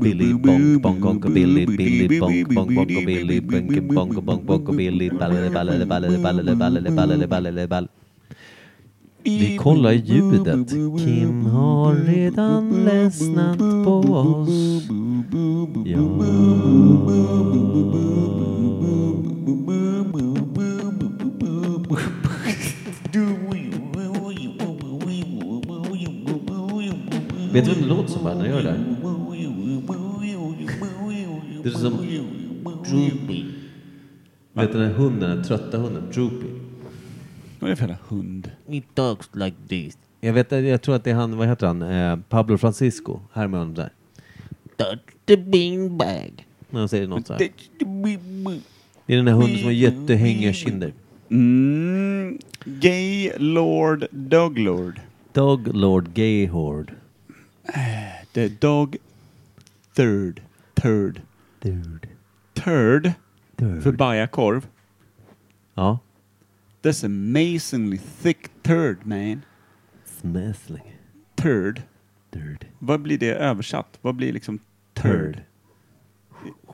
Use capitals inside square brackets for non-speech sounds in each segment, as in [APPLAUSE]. Billy bonk bonk bonk Billy Billy bonk bonk bonk Billy bonk bonk bonk bonk Billy ballade ballade ballade ballade ballade ballade ballade ball. Vi kollar ljudet. Kim har redan ledsnat på oss. Dạ. Ja. Vet du vem det låter som bara när jag gör det? här? Det är som Droopy. Vet du den här hunden, den här trötta hunden? Droopy. Vad är det för jävla hund? It talks like this. Jag, vet, jag tror att det är han, vad heter han, eh, Pablo Francisco, här med honom där. Touch the beanbag. När han säger något så här. Det är den här hunden som har jättehängerkinder. Mm, gay Lord Dog Lord. Dog Lord Gayhord. The dog third. Third. Dude. Third. För Dude. bajakorv. Ja. That's amazingly thick third man. Smäsling. Third. Dude. Vad blir det översatt? Vad blir liksom Turd. third?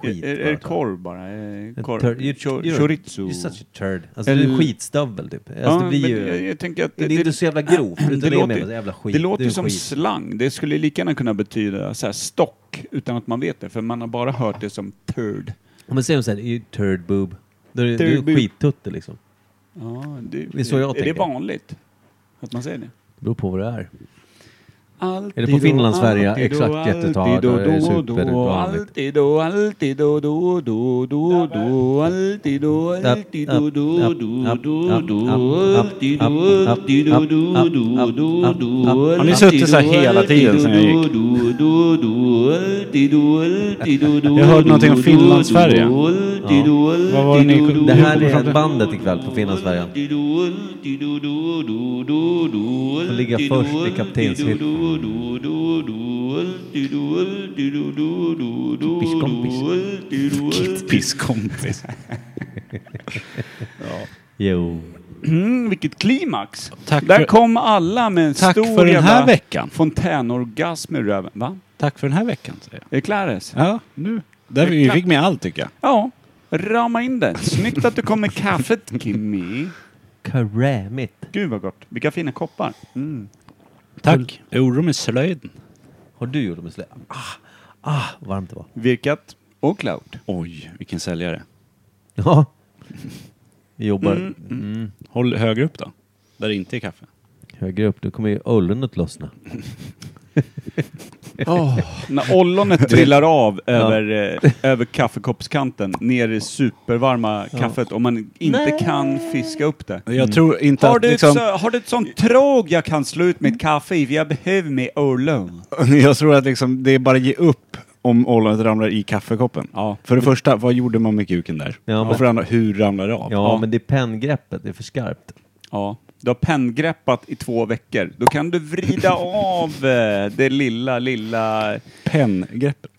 Är, är, är det korv bara? Är det En Korv? turd. You're- Chor- you're- Chorizo? You're such a turd. Alltså Eller- du är skitstövel typ. Alltså, det blir men ju... jag, jag tänker att det, är inte så jävla grovt. utan det Det, är mer låter- bara jävla skit. det låter Du är ju som skit. slang. Det skulle lika gärna kunna betyda så här stock utan att man vet det, för man har bara hört det som turd. Om man säger såhär, "You turd boob. Då är det- du Turd är boob. skittutte liksom. Ja, det, Det är så jag är det tänker. vanligt att man säger det? Det beror på vad det är. Alltid Är det på då, Finlandsfärja? alltid då, Exakt, alltid jättetal. då, Det är då, supervanligt. då, Alltid då, alltid då, då, då, då, då, alltid då, alltid då, då, då, då, då, alltid då, alltid då, då, då, då, då, Har ni suttit så här hela tiden sen jag gick? Jag hörde någonting om Finlandsfärja. Vad var det ni kunde... Det här är bandet ikväll på Finlandsfärjan. Får ligga först i kaptenshytten. Typisk kompis. Typisk kompis. Jo. Mm, vilket klimax! Tack Där för- kom alla med en Tack stor för den här jävla veckan. Fontänorgasm i röven. Va? Tack för den här veckan säger jag. Är det Clares? Ja, nu. Där vi fick med allt tycker jag. Ja, rama in det. Snyggt att du kom med kaffet, Kimmy. Krämigt. Gud vad gott. Vilka fina koppar. Mm. Tack. Jag gjorde dem i slöjden. Har du gjort dem i slä? Ah, ah, vad varmt det var. [LAUGHS] Virkat och cloud. Oj, vilken säljare. Ja. Vi jobbar Mm, Håll högre upp då. Där det inte är kaffe. högre upp. Då kommer ju ollonet lossna. När ollonet trillar av över, eh, över kaffekoppskanten ner i supervarma kaffet och man inte kan fiska upp det. Jag tror inte Har att du, ett, liksom, så, har du ett sånt tråg jag kan slå ut mitt kaffe i? För jag behöver mig ollon. [LAUGHS] jag tror att liksom, det är bara att ge upp om ollonet ramlar i kaffekoppen. Ja. För det första, vad gjorde man med kuken där? Ja, och men- för det andra, hur ramlar det av? Ja, men det är penngreppet. Det är för skarpt. Ja. Du har penngräppat i två veckor. Då kan du [LAUGHS] vrida av eh, det lilla, lilla... Penngreppet.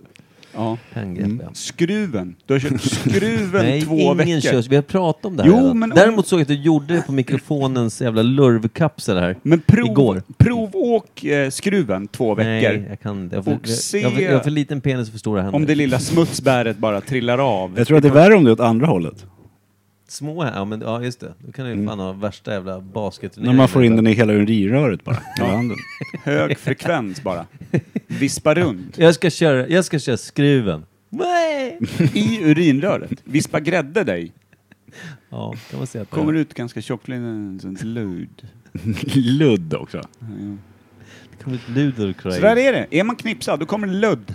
Ja. Penngrepp, Mm. ja. Skruven. Du har [LAUGHS] kört skruven Nej, två ingen veckor. körs. Vi har pratat om det här Jo, redan. men om- Däremot såg jag att du gjorde det på mikrofonens jävla lurvkapsel här. Men prov, Igår. provåk eh, skruven två veckor. Nej, jag kan inte. Jag, har Och för- se- jag, har för- jag har för liten penis för stora händer. Om det lilla smutsbäret bara trillar av. [LAUGHS] Jag tror att det är värre om det är åt andra hållet. Små här, ja, men, ja just det. Då kan du Mm. ju fan ha värsta jävla basket. När man får in den i hela urinröret bara. Ja. handen. [LAUGHS] Hög frekvens bara. Vispa runt. Jag ska köra, jag ska köra skruven. Nej! I urinröret. Vispa grädde dig. Ja, kan man säga. Kommer ut ganska tjockligen, sånt lud. Ludd också. det kommer ut luder och Så där cray. är det. Är man knipsad, då kommer ludd.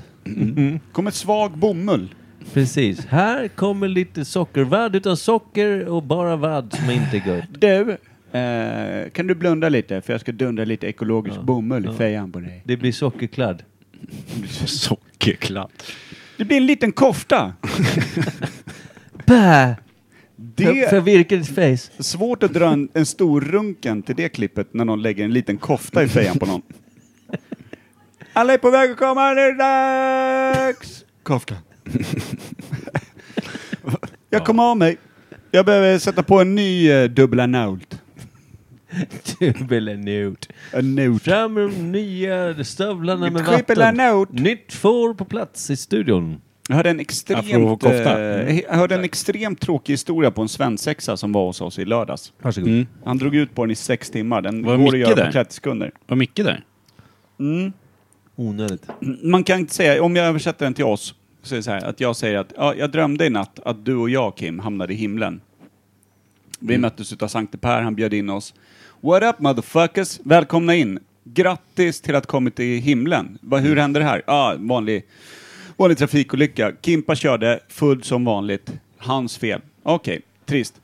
Kommer svag bomull. Precis. Här kommer lite sockervärd utan socker och bara värd som inte är gött. Du, eh, kan du blunda lite? För jag ska dundra lite ekologisk bomull i fejan på dig. Det blir sockerkladd. Sockerkladd. Det blir en liten kofta. Bä! Det är Förvirkar ditt face. [LAUGHS] svårt att dra en, en stor runken till det klippet när någon lägger en liten kofta i fejan på någon. [LAUGHS] Alla är på väg att komma, nu är det dags! [LAUGHS] Kofta. Jag kom av mig. Jag behöver sätta på en ny eh, dubbla nault. Tubbelenut. En not. Fram med de nya stövlarna med Triple vatten. note. Nytt får på plats i studion. Jag hörde en extremt, eh, Afrokofta. jag hörde en extremt tråkig historia på en svensexa som var hos oss i lördags. Varsågod. Han drog ut på den i sex timmar. Den Var det går att Micke göra på där? 30 sekunder. Var Micke där? Onödigt. Man kan inte säga, om jag översätter den till oss, så är det så här, att jag säger att ja, jag drömde i natt att du och jag, Kim, hamnade i himlen. Vi Mm. möttes utav Sankte Per, han bjöd in oss. What up motherfuckers, välkomna in. Grattis till att ha kommit till himlen. Vad- Mm. Hur hände det här? Ja, vanlig, vanlig trafikolycka. Kimpa körde full som vanligt. Hans fel. Okej, trist.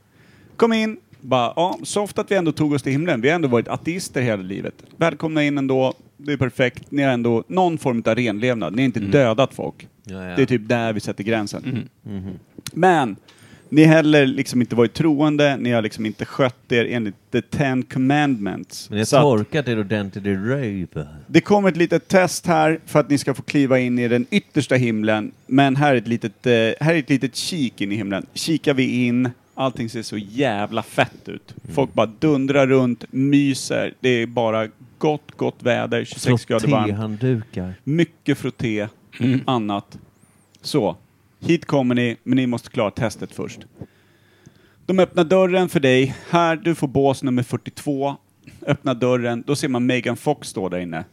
Kom in. Bara, ja, soft att vi ändå tog oss till himlen. Vi har ändå varit ateister hela livet. Välkomna in ändå. Det är perfekt. Ni har ändå någon form av renlevnad. Ni har inte dödat folk. Mm. Ja, ja. Mm. Det är typ där vi sätter gränsen. Men ni heller liksom inte varit troende, ni har liksom inte skött er enligt the ten commandments. Men jag Så att torkat er ordentligt i röv. det kommer ett litet test här för att ni ska få kliva in i den yttersta himlen, men här är ett litet, eh, här är ett litet kik in i himlen. Kikar vi in, allting ser så jävla fett ut. Folk bara dundrar runt, myser, det är bara gott, gott väder, 26 grader varmt Frottéhanddukar. mycket frotté, annat. Så, hit kommer ni, men ni måste klara testet först. De öppnar dörren för dig. Här, du får bås nummer 42. Öppna dörren, då ser man Megan Fox stå där inne.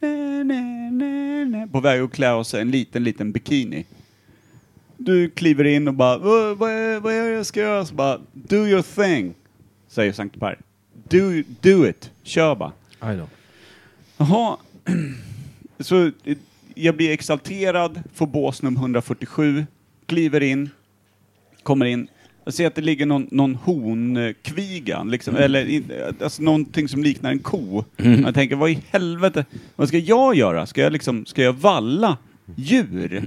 Nä, nä, nä, nä. På väg att klä av sig en liten, liten bikini. Du kliver in och bara, "Vad- vad är, vad är det jag ska göra? Så bara, do your thing, säger Sankt Per. Do, do it, kör bara. Aj då. Jaha. Så eh, jag blir exalterad, får bås nummer 147, kliver in, kommer in. Jag ser att det ligger någon, någon honkviga, liksom, eller in- eh, alltså någonting som liknar en ko. Jag tänker, vad i helvete, vad ska jag göra? Ska jag, liksom, ska jag valla djur?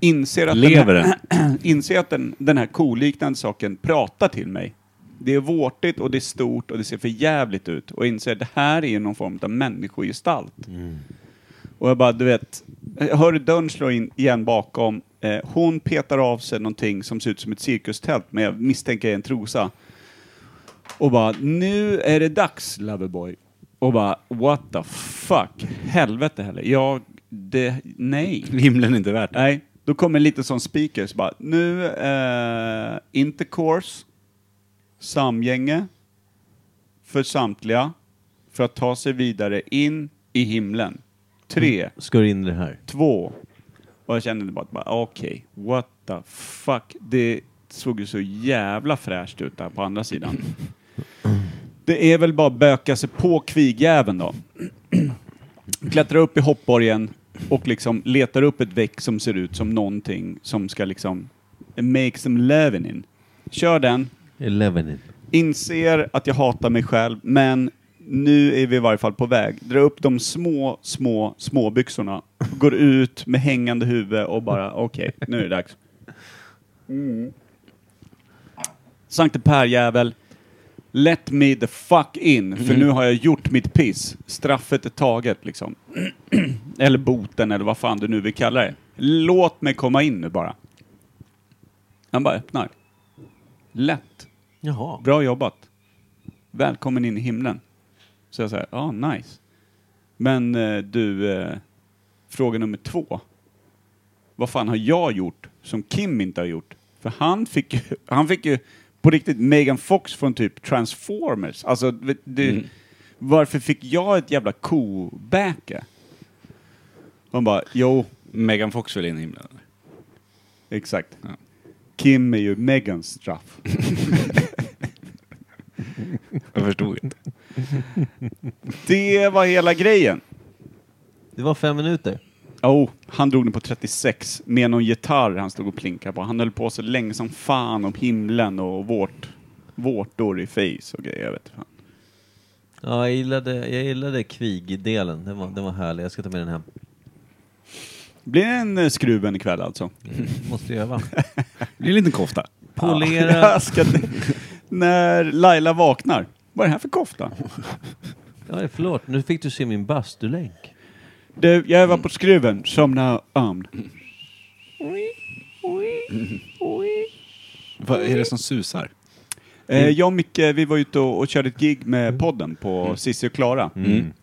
Inser att Lever den? Här, [CLEARS THROAT] inser att den, den här koliknande saken pratar till mig. Det är vårtigt och det är stort och det ser för jävligt ut. Och inser att det här är ju någon form av människogestalt. Och jag bara, du vet, jag hör hur dörren slå in igen bakom. Eh, hon petar av sig någonting som ser ut som ett cirkustält, men jag misstänker är en trosa. Och bara, nu är det dags Loverboy. Och bara, what the fuck, helvete heller. Jag, det, nej. Himlen är inte värt det. Nej, då kommer lite som speaker, så bara, nu, eh, intercourse, samgänge, för samtliga, för att ta sig vidare in i himlen. Tre Ska du in i det här? två. Och jag kände bara, bara okej, what the fuck. Det såg ju så jävla fräscht ut där på andra sidan. Det är väl bara att böka sig på kvigjäveln då. [CLEARS THROAT] Klättra upp i hoppborgen och liksom letar upp ett väck som ser ut som någonting som ska liksom make some loving in. Kör den, Eleven in. Inser att jag hatar mig själv, men nu är vi i varje fall på väg. Dra upp de små, små, små byxorna. Går ut med hängande huvud och bara, okej, nu är det dags. Mm. Sankte Per-jävel, let me the fuck in, för nu har jag gjort mitt piss. Straffet är taget liksom. [CLEARS THROAT] eller boten, eller vad fan du nu vill kalla det. Låt mig komma in nu bara. Han bara öppnar. Lätt. Jaha. Bra jobbat. Välkommen in i himlen. Så jag säger, ja ah, nice. Men eh, du, eh, fråga nummer två. Vad fan har jag gjort som Kim inte har gjort? För han fick ju, han fick ju på riktigt Megan Fox från typ Transformers. Alltså, vet du, varför fick jag ett jävla kobäke? Hon bara, jo, Megan Fox vill in i himlen. eller? Exakt. Kim är ju Megans straff. Jag förstod inte. Det var hela grejen. Det var fem minuter. Oh, han drog den på 36 med någon gitarr han stod och plinkade på. Han höll på så länge som fan om himlen och vårt, vårtor i face och grejer. Jag vet inte fan. Ja, jag gillade, jag gillade kvig-delen. Den var, den var härlig. Jag ska ta med den hem. Blir det en eh, skruven ikväll alltså? [LAUGHS] Måste öva. Det är en liten kofta. Polera. Jag ska, när Laila vaknar, vad är det här för kofta? Ja, förlåt. Nu fick du se min bastulänk. Du, jag var på skruven, somna ömn. [LAUGHS] Vad är det som susar? Eh, jag och Micke, vi var ute och, och körde ett gig med podden på Cissi och Klara.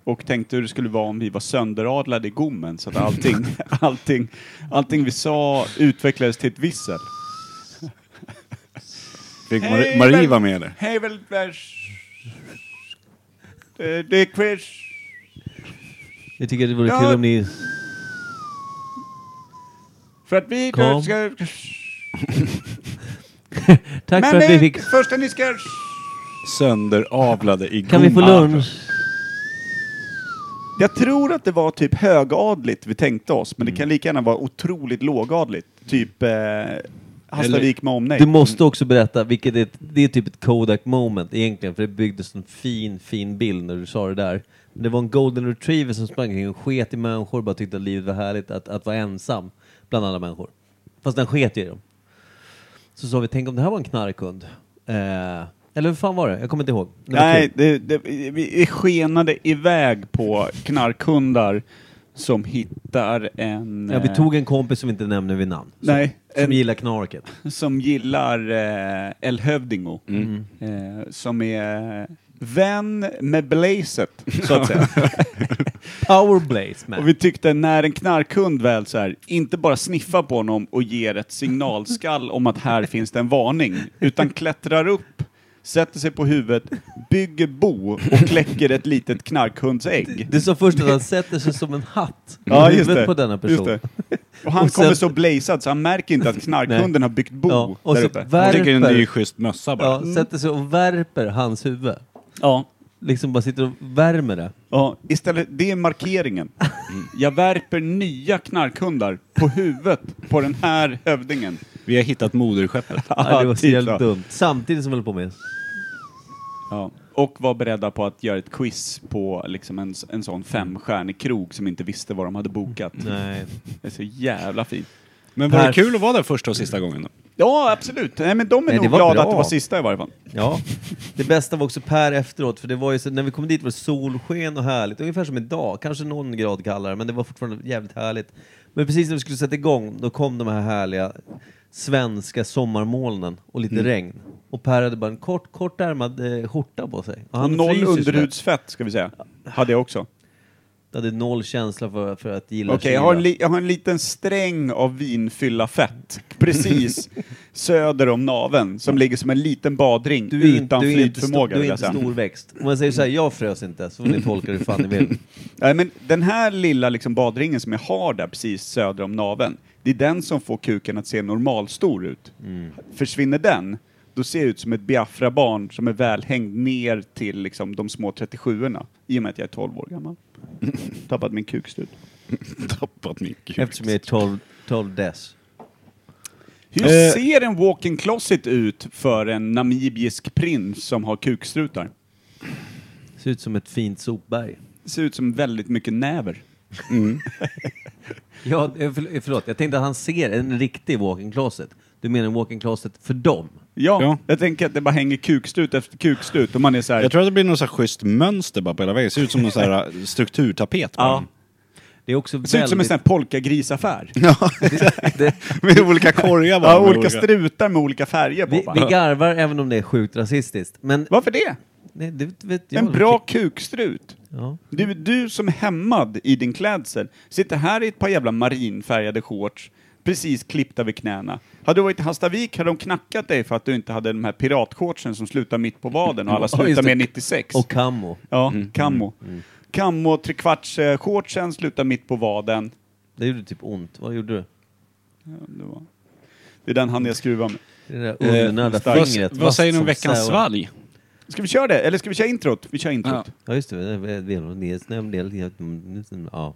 Och tänkte hur det skulle vara om vi var sönderadlade i gommen så att allting, [LAUGHS] allting, allting vi sa utvecklades till ett vissel. Fick Mar- Hej, Marie väl- vara med eller? Hej Vältvärs! Det det är Chris. Jag tycker det vore Ja. kul om ni... För att vi Kom. ska... Tack för Men att vi det fick... första ni ska... Sönderavlade i Kan vi få gomma. lunch? Jag tror att det var typ högadligt vi tänkte oss, men det kan lika gärna vara otroligt lågadligt. Typ eh, Hallstavik med omnejd. Du måste också berätta, vilket är, det är typ ett Kodak moment egentligen, för det byggdes en fin, fin bild när du sa det där. Men det var en golden retriever som sprang kring och sket i människor och bara tyckte att livet var härligt att, att vara ensam bland alla människor. Fast den sket ju i dem. Så sa vi, tänk om det här var en knarkhund. Eh, eller hur fan var det? Jag kommer inte ihåg. Det var Nej, kul. det, det, vi skenade iväg på knarkhundar som hittar en... Ja, vi eh, tog en kompis som vi inte nämner vid namn. Som, Nej, som en- gillar knarket. som gillar eh, El Hövdingo. Mm. Eh, som är vän med Blazet, så att [LAUGHS] säga. Powerblaze man. Och vi tyckte när en knarkhund väl så här, inte bara sniffar på honom och ger ett signalskall om att här finns det en varning, utan klättrar upp, sätter sig på huvudet, bygger bo och kläcker ett litet knarkhundsägg. Du sa först att han sätter sig som en hatt i Ja, just huvudet det. på denna person. Just det. Och han Och sen- kommer så blazad så han märker inte [LAUGHS] att knarkhunden har byggt bo Ja, och där så uppe. Jag värper, tycker en ny schysst mössa bara. ja, mm. sätter sig och värper hans huvud. Ja. Liksom bara sitter och värmer det. Ja, istället, det är [LAUGHS] markeringen. Jag värper nya knarkhundar på huvudet på den här hövdingen. Vi har hittat moderskeppet. Ja, det var så typ jävligt så. dumt. Samtidigt som vi höll på med... Ja. Och var beredda på att göra ett quiz på liksom en, en sån femstjärnig krog som inte visste vad de hade bokat. Nej. Det är så jävla fint. Men var det Perf- kul att vara där första och sista gången då? Ja, absolut. Nej, men de är Nej, det nog var glada bra. att det var sista i varje fall. Ja. Det bästa var också Per efteråt, för det var ju så, när vi kom dit var det solsken och härligt. Ungefär som idag, kanske någon grad kallare, men det var fortfarande jävligt härligt. Men precis när vi skulle sätta igång, då kom de här härliga svenska sommarmolnen och lite Mm. regn. Och Per hade bara en kort, kortärmad eh, skjorta på sig. Och Och han noll fryser ju sådär. underhudsfett, ska vi säga. Hade jag också. Jag hade noll känsla för, för att gilla Okej, jag, har kyla. en li- jag har en liten sträng av vinfylla fett [LAUGHS] precis söder om naven som ligger som en liten badring Du är, utan inte- du är inte, stor, flytförmåga. du vill är jag inte säga. storväxt. Om man säger så här, jag frös inte, så får ni tolka det hur fan ni [LAUGHS] vill. Nej, men den här lilla liksom, badringen som jag har där precis söder om naven, det är den som får kuken att se normalstor ut. Mm. Försvinner den, då ser jag ut som ett Biafra-barn som är välhängd ner till liksom, de små 37orna, i och med att jag är 12 år [LAUGHS] gammal. Tappat min kukstud. Tappat min kuk. Eftersom jag är 12, 12 dess. Hur Eh. ser en walk-in closet ut för en namibisk prins som har kukstrutar? Ser ut som ett fint sopberg. Ser ut som väldigt mycket näver. Ja, eh, förl- eh, förlåt, jag tänkte att han ser en riktig walk-in closet. Du menar en walk-in closet för dem? Ja, Ja. jag tänker att det bara hänger kukstrut efter kukstrut och man är så här... Jag tror att det blir något så här schysst mönster bara på hela vägen. Det ser ut som någon så här [LAUGHS] eh, strukturtapet. ja. bara. Det är också Det ser ut som en väldigt... sån här polkagrisaffär. det, [LAUGHS] [LAUGHS] Med olika korgar bara. Ja, med olika strutar med olika färger på vi, vi bara. garvar även om det är sjukt rasistiskt. Men Varför det? nej, det vet jag. En bra kukstrut. Ja. Du, du som är hämmad i din klädsel sitter här i ett par jävla marinfärgade shorts, precis klippta vid knäna. Hade du varit i Hallstavik hade de knackat dig för att du inte hade de här piratshortsen som slutar mitt på vaden och alla Ja, just slutar det. med 96. Och Mm, kammo. Ja, kammo. Kammo trekvarts-shortsen slutar mitt på vaden. Det gjorde typ ont. Vad gjorde du? Ja, det, var. det är den han jag skruvar med. Det där Eh, undernärda vad, fingret. vad vasst säger ni om som veckans säl. svalg? Ska vi köra det? Eller ska vi köra introt? Vi kör introt. Ja. Ja, just det. Det är- det är nog nedsnämnd del. Ja.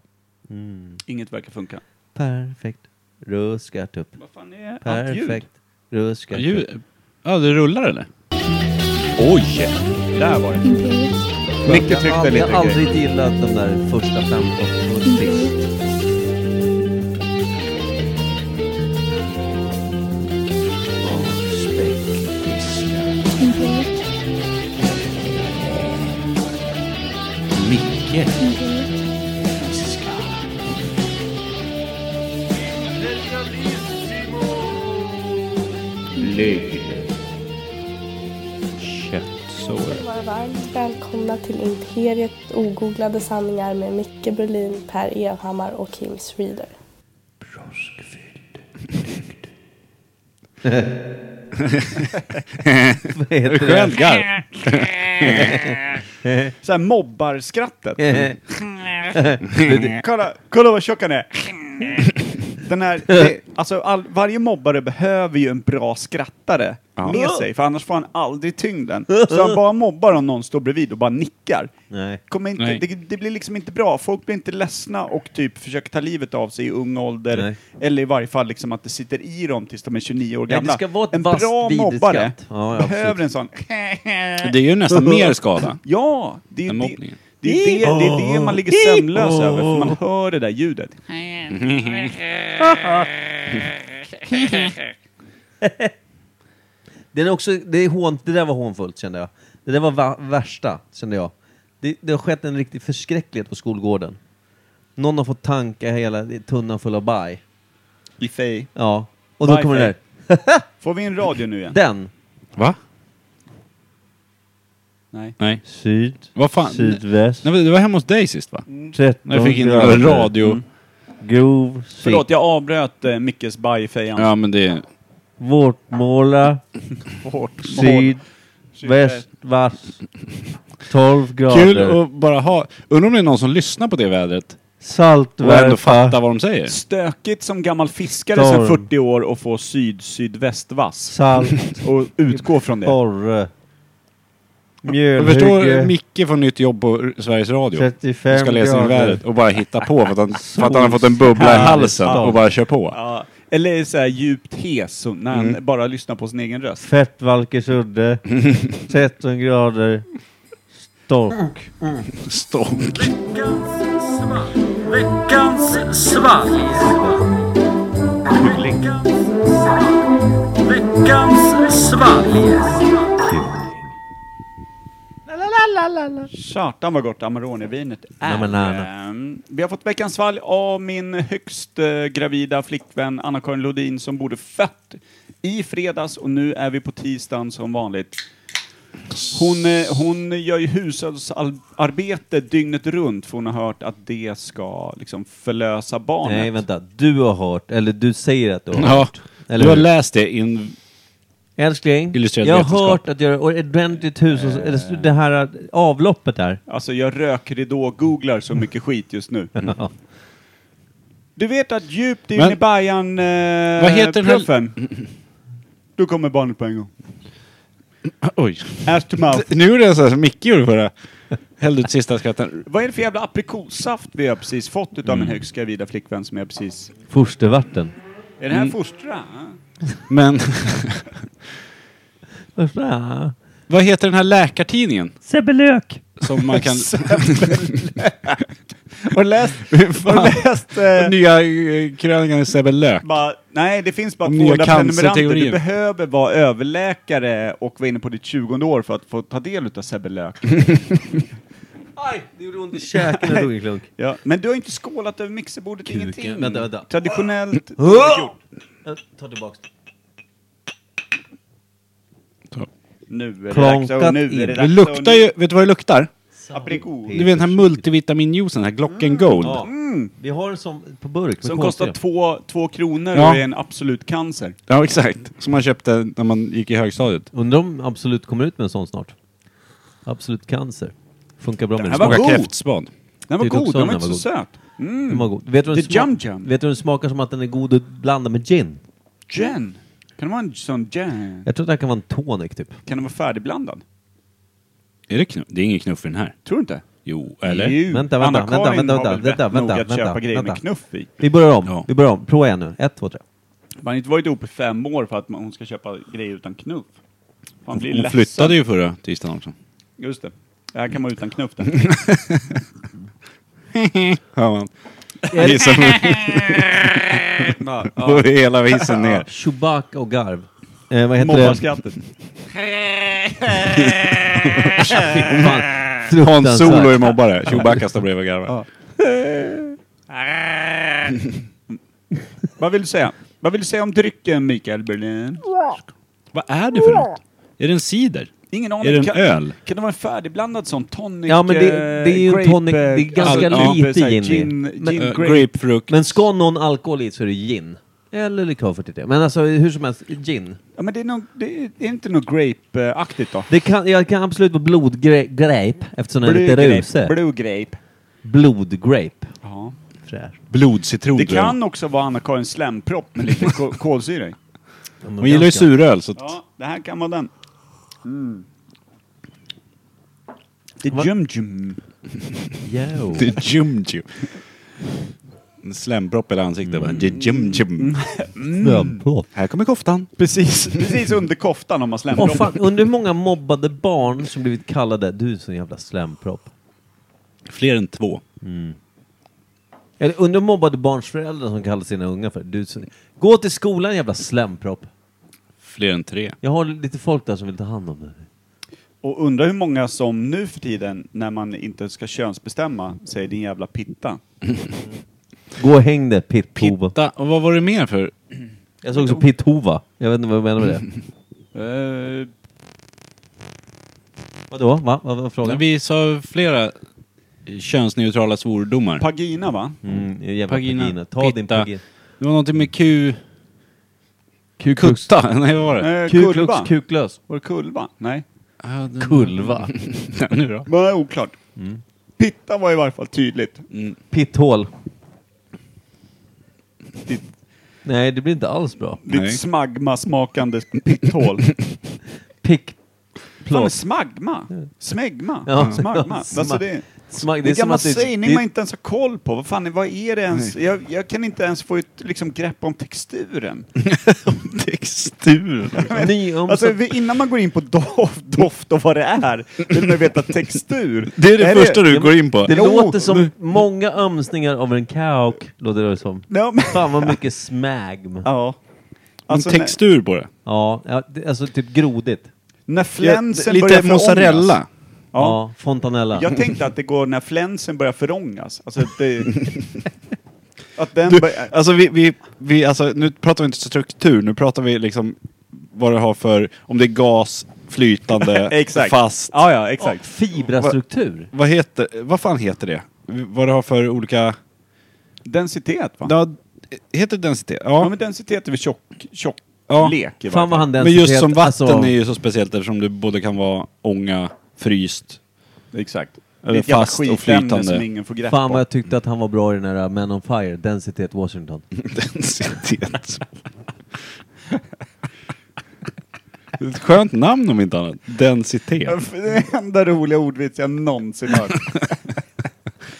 Inget verkar funka. Perfekt. Ruskat upp. Vad fan är allt ljud? Perfekt. Ruskat upp. Ljud- Ja, det rullar eller? Oj! Där var det. Micke Jag har tryckte aldrig, lite jag har grejer. aldrig gillat de där första 15 [LAUGHS] först. Micke. Lägg. varmt välkomna till Imperiet ogooglade sanningar med Micke Berlin, Per Evhammar och Kim Reader. Vad heter det? Skälgar! Såhär mobbarskrattet. kolla, kolla vad tjock han är! Den [LAUGHS] här, det, alltså all, varje mobbare behöver ju en bra skrattare med sig, för annars får han aldrig tyngden. Så [LAUGHS] han bara mobbar om någon står bredvid och bara nickar. [LAUGHS] Nej. Kommer inte, Nej. det, det blir liksom inte bra. Folk blir inte ledsna och typ försöker ta livet av sig i ung ålder. Nej. Eller i varje fall liksom att det sitter i dem tills de är 29 år Nej, det gamla. ska vara ett en vasst, bra vidrigt mobbare skratt. Ja, ja, behöver absolut. en sån Det är ju [LAUGHS] nästan mer skada. [LAUGHS] Ja, det är Den det, mobbningen. det, är det, det, är det man ligger sömnlös över, för man hör det där ljudet. Den är också, det, är hån, det där var hånfullt kände jag. Det där var va- värsta kände jag. Det, det har skett en riktig förskräcklighet på skolgården. Någon har fått tanka hela tunnan full av baj. I fej. Ja. Och då Baj, kommer det fej. där. Får vi in radio nu igen? Den. Va? Nej. Nej. Syd. Vad fan? Sydväst. Nej, men det var hemma hos dig sist va? 13 När jag fick in radio. Mm. Grov. Förlåt, jag avbröt eh, Mickes bajfejan. Ja men det... Vårtmåla. Hårt. Syd. Typ Väst. Vass. 12 grader. Kul att bara ha... Undrar om det är någon som lyssnar på det vädret och ändå fattar Saltvärpa. vad de säger? Stökigt som gammal fiskare Storm. sedan 40 år och få syd-sydvästvass. Salt. [LAUGHS] Och utgå från det. Borre. Jag förstår Mjölhygge. Micke får nytt jobb på Sveriges Radio. Du 35 ska läsa in grader. vädret och bara hitta på för [LAUGHS] att han, för att han har fått en bubbla i halsen och bara kör på. Ja, eller så här djupt hes, så när han Mm. bara lyssnar på sin egen röst. Fettvalkesudde. [LAUGHS] 13 grader. Stork. Stånk. Satan vad gott Amarone-vinet är. Nej, men, nej, Ehm, Vi har fått veckans fall av min högst eh, gravida flickvän Anna-Karin Lodin som borde fött i fredags och nu är vi på tisdagen som vanligt. Hon, eh, hon gör ju hushållsarbete dygnet runt för hon har hört att det ska liksom förlösa barnet. Nej, vänta. Du har hört, eller du säger att du har Ja. hört. Eller Du har hur? läst det in... Älskling, Illustrerad jag har vetenskap. hört att göra ordentligt hus, och, eller det här eh, avloppet där. Alltså jag rökridå-googlar så mycket skit just nu. Mm. Ja. Du vet att djupt in Men- i bajan eh, Vad heter den här- puffen, då kommer barnet på en gång. Oj. Ass to mouth. Nu är det så här som Micke gjorde förra. Hällde ut sista skratten. Vad är det för jävla aprikossaft vi har precis fått utav min högst gravida flickvän som jag precis... [LAUGHS] Fostervatten. Är det här fostra? Men [LAUGHS] Första- vad heter den här läkartidningen? Sebbelök. Som [LAUGHS] man kan... Har du läst... Har Fan. du läst eh, Nya eh, krönikan i Sebbe Lök. bara, nej, det finns bara Om två nya där prenumeranter. cancerteorier. Du behöver vara överläkare och vara inne på ditt 20 år för att få ta del utav Sebbe Lök. Aj, det gjorde ont i käken när jag tog en klunk. Ja, men du har inte skålat över mixerbordet, Kuken. ingenting. Vänta, vänta. Traditionellt... Jag tar tillbaks det. Nu är det dags. Klonkat och Nu är in. det Det dags. och luktar nu- ju... Vet du vad det luktar? Aprikos. Du vet den här multivitaminjuicen, den här Glocken Gold. Ja. Vi har en sån på burk. med Mm. Som kolsyra. kostar två, två kronor Ja. och är en absolut cancer. Ja, exakt. Som man köpte när man gick i högstadiet. Undrar om Absolut kommer ut med en sån snart. Absolut Cancer. Funkar bra med här var det. Smakar- Smakar god. kräftspad. Den var Tyckte god, också den var den inte så var söt. Den var god. Vet du, hur den The smak- Jum Jum. vet du hur den smakar som att den är god att blanda med gin? Jen. Kan det vara en sån Jen? Jag tror att det här kan vara en tonic typ. Kan den vara färdigblandad? Är det knuff? Det är ingen knuff i den här. Tror du inte? Jo, eller? Jo. Vänta, vänta, Anna-Karin vänta, vänta, har väl vänta, rätt vänta, nog att vänta, köpa grejer med vänta. knuff i. Vi börjar om. Ja. Vi börjar om. Prova igen nu. Ett, två, tre. Man har inte varit ihop i fem år för att man, hon ska köpa grejer utan knuff. Fan, blir Hon ledsen. flyttade ju förra [LAUGHS] tisdagen också. Just det. Det här kan man utan knuff. där. [LAUGHS] Ja, man. Hissar Ja, [LAUGHS] ja. på hela hissen ner. Chewbacca och garv. Eh, vad heter det? [LAUGHS] Mobbarskrattet. [LAUGHS] Fan, Hans fruktansvärt. Solo är mobbare. Chewbacca står bredvid och garvar. Vad vill du säga? Vad vill du säga om drycken, Mikael Berlin? Vad är det för något? Är det en cider? Ingen aning. Är det en kan, öl? Kan det vara en färdigblandad sån tonic? Ja, men det- eh, det är ju en grape, tonic- det är eh, ganska alkohol, lite så här, gin i. Gin, Men- gin Eh, grape. grapefrukt. Men ska någon alkohol i så är det gin. Eller likör 43. Men alltså hur som helst, gin. Ja, men det är, nog, det är det är inte något grape-aktigt då? Det kan, jag kan absolut vara blodgrape eftersom den är lite Blue grape, rusig. Blue grape. Blodgrape. Ja. Fräsch. Blodcitron. Det tror jag. kan också vara Anna-Karin Slämpropp med lite [LAUGHS] ko- kolsyra i. Hon gillar ju suröl så att... Ja, det här kan vara den. Mm. Det Va- är Jum Jum. Jo. Det är jum jum. En slämpropp i ansiktet. bara, Jum jum. Mm. Snöbrott. Här kommer koftan. Precis, precis under koftan om man slämmer Åh fan, under hur många mobbade barn som blivit kallade du är en sån jävla slämpropp. Fler än två. Eller under mobbade barns föräldrar som kallar sina unga för du är så... Gå till skolan jävla slämpropp. Fler än tre. Jag har lite folk där som vill ta hand om dig. Och undrar hur många som nu för tiden, när man inte ska könsbestämma, säger din jävla pitta. Gå och häng dig, Pitthova. Pitta. Och vad var det mer för? Jag såg också Pitthova. Jag vet inte vad jag menar med det. Eh, Vadå? Va? Vad var frågan? Vi sa flera könsneutrala svordomar. Pagina va? Mm, jävla Pagina. pagina. Ta din Pitta. pagina. Det var någonting med Q... Kutta? [LAUGHS] Nej, vad var det? Eh, Kuklux, kulva? kuklös. Var det kulva? Nej. Ja, det- [LAUGHS] Kulva. Ja, [LAUGHS] nu då? Men det är oklart. Mm. Pitta var i varje fall tydligt. Pitthål. Ditt, Nej, det blir inte alls bra. Nej. ditt smagma-smakande [LAUGHS] pitthål. Pick... Fan, men Plåt. smagma? Smegma? Ja, [LAUGHS] Smagma? ja, Alltså smag- det, Smack, det är gammal det- sägning det- man inte ens har koll på. Vad fan, är- vad är det ens? Jag, jag kan inte ens få ett liksom, grepp om texturen. Textur. Nyomsatt. Alltså vi- innan man går in på doft, doft och vad det är, vill man ju veta textur. [LAUGHS] Det är det Är det- första du går in på. Det Jo, låter som många ömsningar av en kauk, låter det som. Ja, men, Fan vad mycket smagm. ja. Alltså, en textur på det. Ja, ja det, alltså typ grodigt. när, när flänsen börjar Lite förångas. mozzarella. Ja. Ja, fontanella. Jag tänkte att det går när flänsen börjar förångas. Alltså att [LAUGHS] det... Att den Du, börjar... alltså, vi, vi, vi, alltså, nu pratar vi inte struktur, nu pratar vi liksom vad det har för, om det är gas, [LAUGHS] flytande, Exakt. fast. Ja, ja, Ja, exakt. Fibrastruktur. Vad heter, vad fan heter det? Vad det har för olika... Densitet va? Ja, heter det densitet? Ja, Ja. men densitet är väl tjock, tjock Ja. lek i varje Fan vad fall. han den Men just heter- som vatten alltså, är ju så speciellt eftersom det både kan vara ånga, [LAUGHS] fryst. Exakt. Eller det är ett jävla fast och skitämne flytande. som ingen får grepp Fan vad om. jag tyckte att han var bra i den här Men on Fire, Densitet Washington. Mm. densitet. [LAUGHS] Ett skönt namn om inte annat. [LAUGHS] Densitet. Det är den enda roliga ordvits jag någonsin [LAUGHS] hört.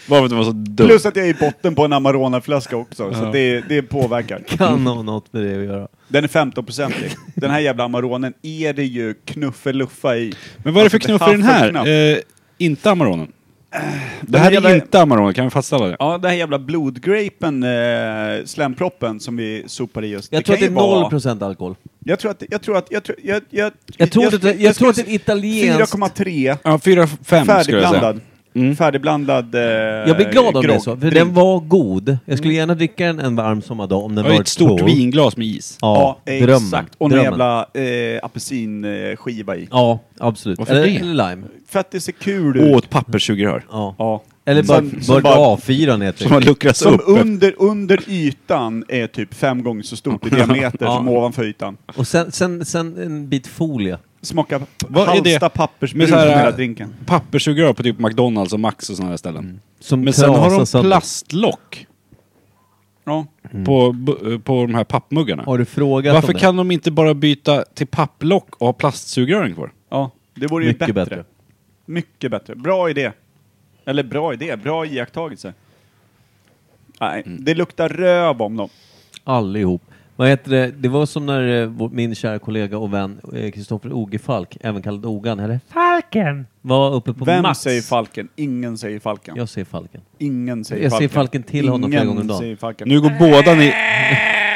Bara för att det var så dumt. Plus att jag är i botten på en Amaronaflaska också, så att det, det påverkar. Kan ha något med det att göra. Den är 15-procentig. Den här jävla Amaronen är det ju knuffeluffa i. Men vad är det för Alltså, knuff i den haffeknuff. här? Eh, inte Amaronen. Det här jävla- är inte Amaronen, kan vi fastställa det? Ja, den här jävla blodgrapen, eh, slämproppen som vi sopar i just. Jag det tror att kan det ju vara- är 0% alkohol. Jag tror att, jag tror att, jag tror, jag, jag, Jag tror att det- jag tror att det är skulle- italienskt. 4,3. Ja, 4-5 skulle jag säga. Färdigblandad. Färdigblandad eh, Jag blir glad om det är grogg, så, för drink. den var god. Jag skulle gärna dricka den en varm sommardag om den Det var var ett stort två. vinglas med is. Ja, Ja, drömmen. exakt. Och en drömmen. jävla eh, apelsinskiva i. Ja, absolut. Varför eller, det? eller lime. För att det ser kul Och ut. ett papperssugrör. Ja. Ja. Eller bara, Som- som bara, bara- A4 heter Som har det. luckrats Som upp. under, under ytan är typ fem gånger så stort i diameter som ovanför ytan. Och sen, sen, sen en bit folie. Smakar p- Vad är det? Halsta pappersbrus Med så här- med hela drinken. Papperssugrör på typ McDonalds och Max och sådana där ställen. Som Men sen har trasar de sönder. Mm. plastlock Ja. på, bu- eh, på de här pappmuggarna. Har du frågat om Varför det? kan de inte bara byta till papplock och ha plastsugrören kvar? ja, det vore ju Mycket bättre. bättre. Mycket bättre. Bra idé. Eller bra idé, bra iakttagelse. Nej, Mm. det luktar röv om dem. Allihop. Vad heter det? Det var som när eh, vår- min kära kollega och vän eh, Kristoffer Oge Falk, även kallad Ogan, eller Falken, var uppe på Vem Max. säger Falken? Ingen säger Falken. Jag säger Falken. Ingen säger Jag Falken. säger Falken till honom flera Ingen gånger om dagen. säger Falken. Nu går [LAUGHS] båda ni...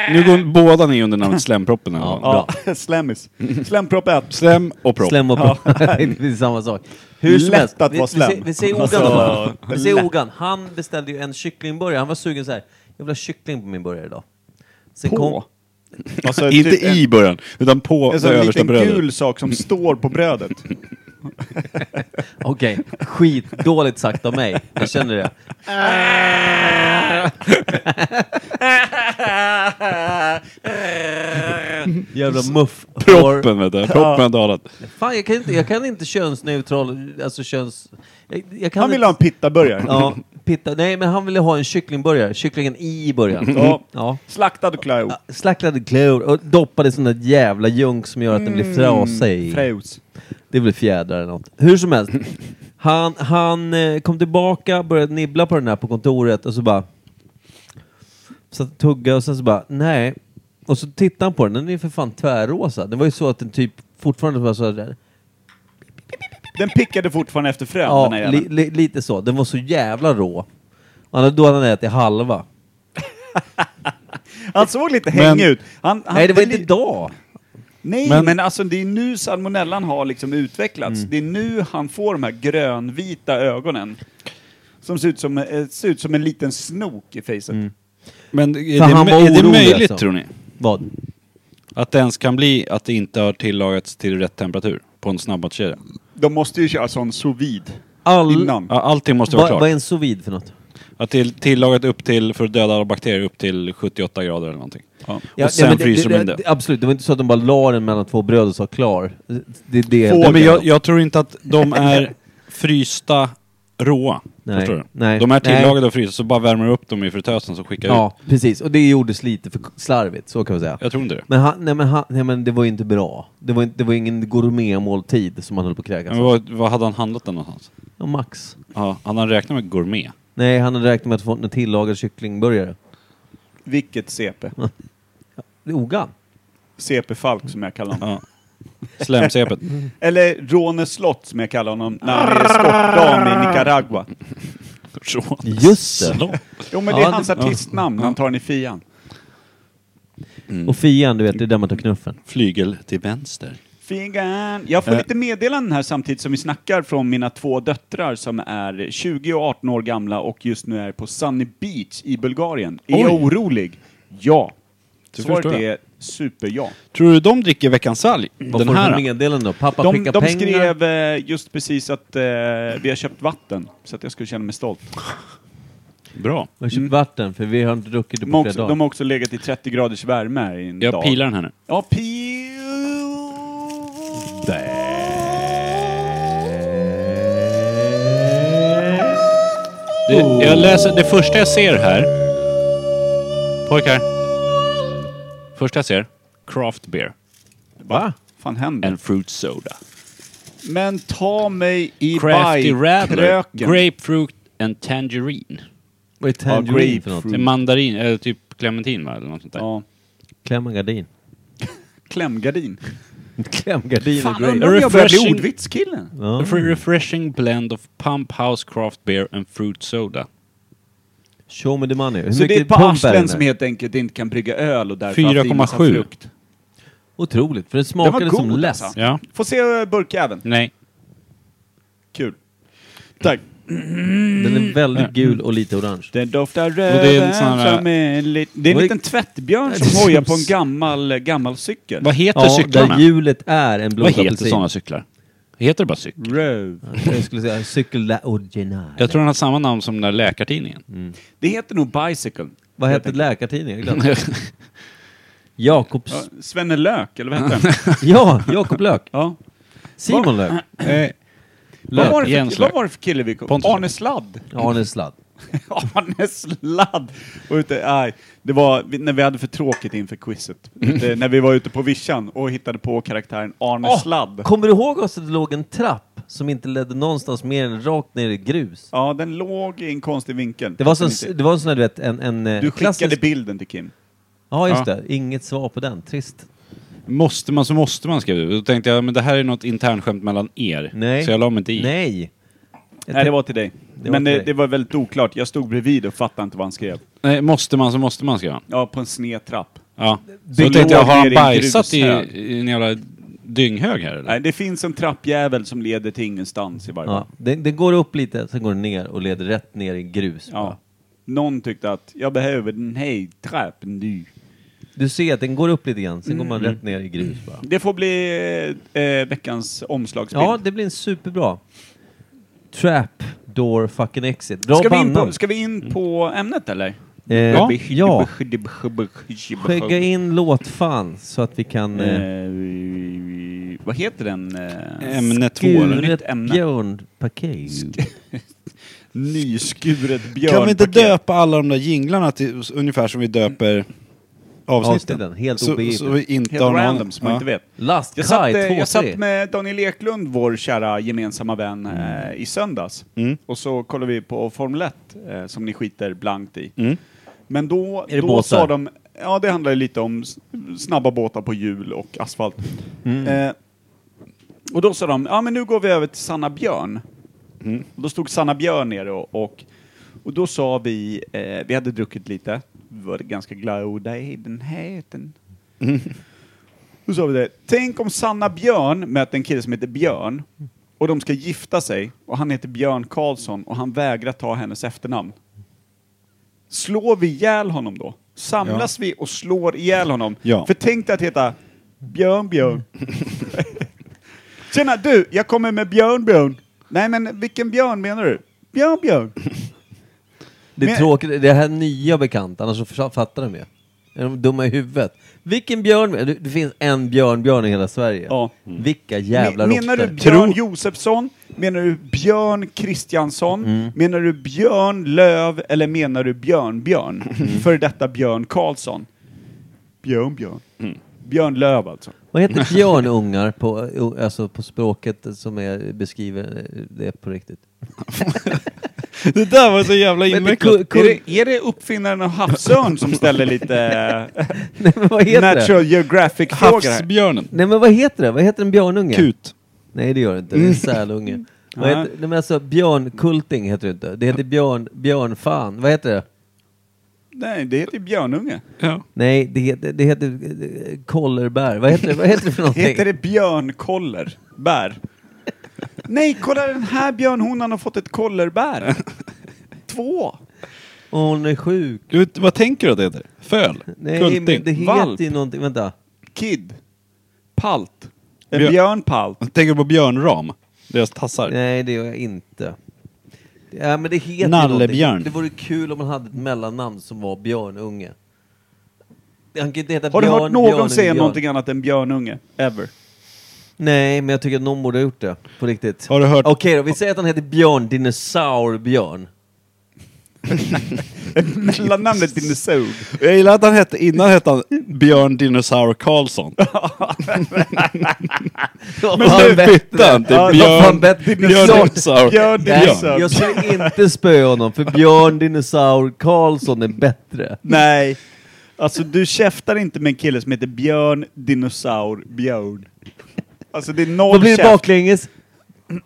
Nu går båda ni under namnet Slämproppen. Ja, ja, [LAUGHS] slammis. Slämpropp [LAUGHS] 1. Slem och propp. Slem och propp. [LAUGHS] det är samma sak. Hur som Lätt helst. att Vi- vara vi ser- slem. Vi säger Ogan Alltså, i alla fall. Vi lätt. säger Ogan. Han beställde ju en kycklingburgare. Han var sugen så här. Jag vill ha kyckling på min burgare idag. Sen På? Alltså, Inte typ en- i början, utan på Alltså, det en översta liten brödet. gul sak [LAUGHS] som står på brödet. Okej, skit dåligt sagt av mig. Jag känner det. Jävla muff. Proppen vet du, proppen har dalat. Fan, jag kan inte, jag kan inte könsneutral, alltså köns... Jag, jag kan Han vill inte- ha en pittaburgare. Ja, pitta. Nej, men han ville ha en kycklingburgare. Kycklingen i början. Ja. Mm. ja. Slaktad och klöv. Slacklade klor och doppade sån där jävla junk som gör att den blir Mm. frasig. Fräs. Det blir fjädrar eller något. Hur som helst. Han, han eh, kom tillbaka, började nibbla på den här på kontoret och så bara... Satt och tugga och sen så bara, nej. Och så tittade han på den, den är ju för fan tvärrosa. Det var ju så att den typ fortfarande var så där. Den pickade fortfarande efter frön, den här Ja, li, jäveln. li, lite så. Den var så jävla rå. Och han- då hade han ätit halva. Han såg lite hängig ut. Han, han, nej, det var inte li- idag. Nej, men, Men- alltså det är nu salmonellan har liksom utvecklats. Mm. Det är nu han får de här grönvita ögonen. Som ser ut som, eh, ser ut som en liten snok i facet. Mm. Men är För det, han var är det orolig möjligt alltså. tror ni? Vad? Att det ens kan bli att det inte har tillagats till rätt temperatur på en snabbmatskedja? De måste ju köra sån sous vide All- innan. Ja, allting måste vara Vad vad är klart. en sous vide för något? Att det är tillagat upp till, för att döda alla bakterier, upp till 78 grader eller någonting. Ja, och sen men fryser det, de in det, det. det. Absolut, det var inte så att de bara la den mellan två bröd och sa klar. Det är det. Nej, men jag, jag tror inte att [LAUGHS] de är frysta råa. Nej, Förstår du? nej, de är nej. tillagade och frysta, så bara värmer du upp dem i fritösen så skickar du ut. Ja, precis. Och det gjordes lite för slarvigt, så kan man säga. Jag tror inte det. Men, han, nej, men, han, nej, men det var ju inte bra. Det var, inte, det var ingen gourmetmåltid som han höll på att kräkas Men av. vad, vad hade han handlat den någonstans? Ja, Max. Ja, han hade räknat med gourmet. Nej, han hade räknat med att få en tillagad kycklingburgare. Vilket CP. Mm. Det är Ogan. CP Falk som jag kallar honom. Ja. Slemsepet. Eller Råne slott som jag kallar honom när han är skottdam i Nicaragua. Just det. Jo men det är Ja, hans det- artistnamn, han tar den i fian. Mm. Och Fian, du vet, det är där man tar knuffen. Flygel till vänster. Figan. Jag får Eh. lite meddelanden här samtidigt som vi snackar från mina två döttrar som är 20 och 18 år gamla och just nu är på Sunny Beach i Bulgarien. Är jag orolig? Ja. Det Svaret förstår jag. är superja. Tror du de dricker veckans salg? Vad Den får du för här? meddelande då? Pappa De, skickar de pengar? skrev eh, just precis att eh, vi har köpt vatten, så att jag skulle känna mig stolt. Typ Bra. Jag har köpt vatten, för vi har inte druckit det Mm. De har på flera också, de dagar. har också legat i 30 graders värme här i en Jag dag. pilar den här nu. Ja, pil... Det, jag läser, det första jag ser här... Pojkar. Första jag ser. Craft beer. Va? fan händer? And fruit soda. Men ta mig i Crafty Rattler. bajkröken. Grapefruit and tangerine. Vad är tangerine för något? Det är mandarin, eller typ clementin va? Eller något sånt där. Ja. Kläm en gardin. Klämgardin. Kläm gardin och Fan, grejer. undrar om jag börjar bli Refreshing. ordvitskillen. Ja. A refreshing blend of pump house craft beer and fruit soda. Show me the money. Hur Så det är ett par pump är arslen den som här? helt enkelt inte kan brygga öl och därför 4,7. frukt. Otroligt, för den Den var smakade god som läsk. alltså. Ja. Få se eh, burkjäveln. Nej. Kul. Tack. Den är Mm. väldigt gul och lite orange. Den doftar det är en röven sån här- som en lit... Det är en Vad är- liten tvättbjörn Det är [LAUGHS] som hojar som- på en gammal, eh, gammal cykel. Vad heter Ja, cyklarna? där hjulet är en Vad heter blodapelsin. sådana cyklar? Heter det bara cykel? Röv. [LAUGHS] Jag skulle säga cykel la original. Jag tror den har samma namn som den där läkartidningen. Det heter nog Bicycle. Vad hette läkartidningen? Jag [LAUGHS] glömde. Jakobs... Ja, Svenne Lök, eller vad [LAUGHS] hette han? [LAUGHS] Ja, Jakob Lök. ja. Simon Lök. Vad, var det Jens för, Eh, vad Lök. var det för kille vi kom? Pontus. Arne Sladd. Arne Sladd. [LAUGHS] Arne Sladd! Och ute, aj, det var vi- när vi hade för tråkigt inför quizet. Mm. Ute, när vi var ute på vischan och hittade på karaktären Arne Sladd. Kommer du ihåg också att det låg en trapp som inte ledde någonstans mer än rakt ner i grus? Ja, den låg i en konstig vinkel. Det var, Som så, inte- det var en sån här, du vet, en... en eh, du skickade klassisk- bilden till Kim. Ja, just Ja. det. Inget svar på den. Trist. Måste man så måste man skriva det. Då tänkte jag, men det här är något internskämt mellan er. Nej. Så jag la mig inte i. Nej. Nej, det var till dig. Det var Men till det, dig. det var väldigt oklart. Jag stod bredvid och fattade inte vad han skrev. Nej, måste man så måste man skriva. Ja, på en sned trapp. Mm. Ja. Så låg då tänkte jag, har ner i han en bajsat i, grushög. i en jävla dynghög här eller? Nej, det finns en trappjävel som leder till ingenstans i varje fall. Ja, det, det går upp lite, sen går det ner och leder rätt ner i grus. Ja. Någon tyckte att jag behöver den här trappen nu. Du ser att den går upp lite grann, sen går Mm. man rätt ner i grus bara. Det får bli eh, veckans omslagsbild. Ja, det blir en superbra. Trap, door, fucking exit. Bra ska, vi in bandnamn. på, ska vi in på ämnet eller? Eh, ja. ja. Skicka Skicka in låtfan så att vi kan... Eh, Eh, vad heter den? Eh, Ämne två. eller? Skuret Nytt ämne. björnpaket. nyskuret björnpaket. Kan vi inte döpa alla de där jinglarna till ungefär som vi döper avsnitten? Avsnitten, helt så, obegripligt. så vi inte Helt har någon- random som man ja. inte vet. Last Jag satt, Kai eh, jag satt 23. med Daniel Eklund, vår kära gemensamma vän, Mm. eh, i söndags. Och så kollade vi på Formel 1, eh, som ni skiter blankt i. Men då, Mm. Är det då båtar? sa de... Ja, det handlar ju lite om s- snabba båtar på hjul och asfalt. Mm. Eh, och då sa de, ja men nu går vi över till Sanna Björn. Mm. Och då stod Sanna Björn nere och, och, och då sa vi, eh, vi hade druckit lite, vi var ganska glada i den heten. Då sa vi det, tänk om Sanna Björn möter en kille som heter Björn och de ska gifta sig och han heter Björn Karlsson och han vägrar ta hennes efternamn. Slår vi ihjäl honom då? Samlas vi och slår ihjäl honom? Ja. För tänk dig att heta Björn Björn. Tjena du, jag kommer med Björn Björn. Nej men vilken Björn menar du? Björn Björn. Det är Men- tråkigt, det här nya bekant, annars så försa- fattar de ju. Är de dumma i huvudet? Vilken björn? Det det finns en björnbjörn i hela Sverige. Ja. Vilka jävla Men- Menar du råttor. Björn Josefsson? Menar du Björn Kristiansson? Mm. Menar du Björn Löv eller menar du Björn Björn? Mm. För detta Björn Karlsson. Björn Björn. Björn Löv alltså. Vad [LAUGHS] heter björnungar på, o- alltså på språket som är, beskriver det på riktigt? [LAUGHS] [LAUGHS] Det där var [LAUGHS] så jävla Men det invecklat. Kul- Är det, är det uppfinnaren av havsörn som ställer lite Nej men [LAUGHS] vad eh, heter det? natural geographic-frågor här? Havsbjörnen. Nej men vad heter det? Vad heter en björnunge? Kut. Nej det gör det inte, det är Mm. [LAUGHS] en sälunge. Vad Nej. heter, nej men alltså björnkulting heter det inte. Det heter björn, björnfan. Vad heter det? Nej, det heter ju björnunge. Ja. Nej, det heter, det heter eh, kollerbär. Vad heter det, [LAUGHS] vad heter det för någonting? Heter det björnkoller? [LAUGHS] Bär? Nej, kolla den här björnhonan har fått ett [LAUGHS] kollerbär. Två. Åh, hon är sjuk. Du, vet, vad tänker du att det heter? Föl? Nej, men Kulting? det heter Valp. ju någonting. Vänta. Kid. Palt. En Björ- björnpalt. Tänker du på björnram? Deras tassar? Nej, det gör jag inte. Ja, men det heter ju Nallebjörn. någonting. Det vore kul om man hade ett mellannamn som var Björnunge. Han kan inte heta Har du Björn, hört någon Björn, säga Björn. någonting annat än björnunge? Ever. Nej, men jag tycker att någon borde ha gjort det. På riktigt. Har du hört- Okej då, vi säger att han heter Björn [LAUGHS] Dinosaurbjörn. [LAUGHS] Mellannamnet dinosaur. Jag gillar att han hette, innan hette han Björn Dinosaur Karlsson. [LAUGHS] Vad fan nu bättre. bytte han till Ja, vad Björn- fan bättre. Björn Klart. Dinosaur. Björn Nej, Dinosaur. jag skulle inte spöa honom för Björn Dinosaur Karlsson är bättre. Nej. Alltså du käftar inte med en kille som heter Björn Dinosaur Björn. Alltså det är Då noll blir det käft. Mm, baklänges.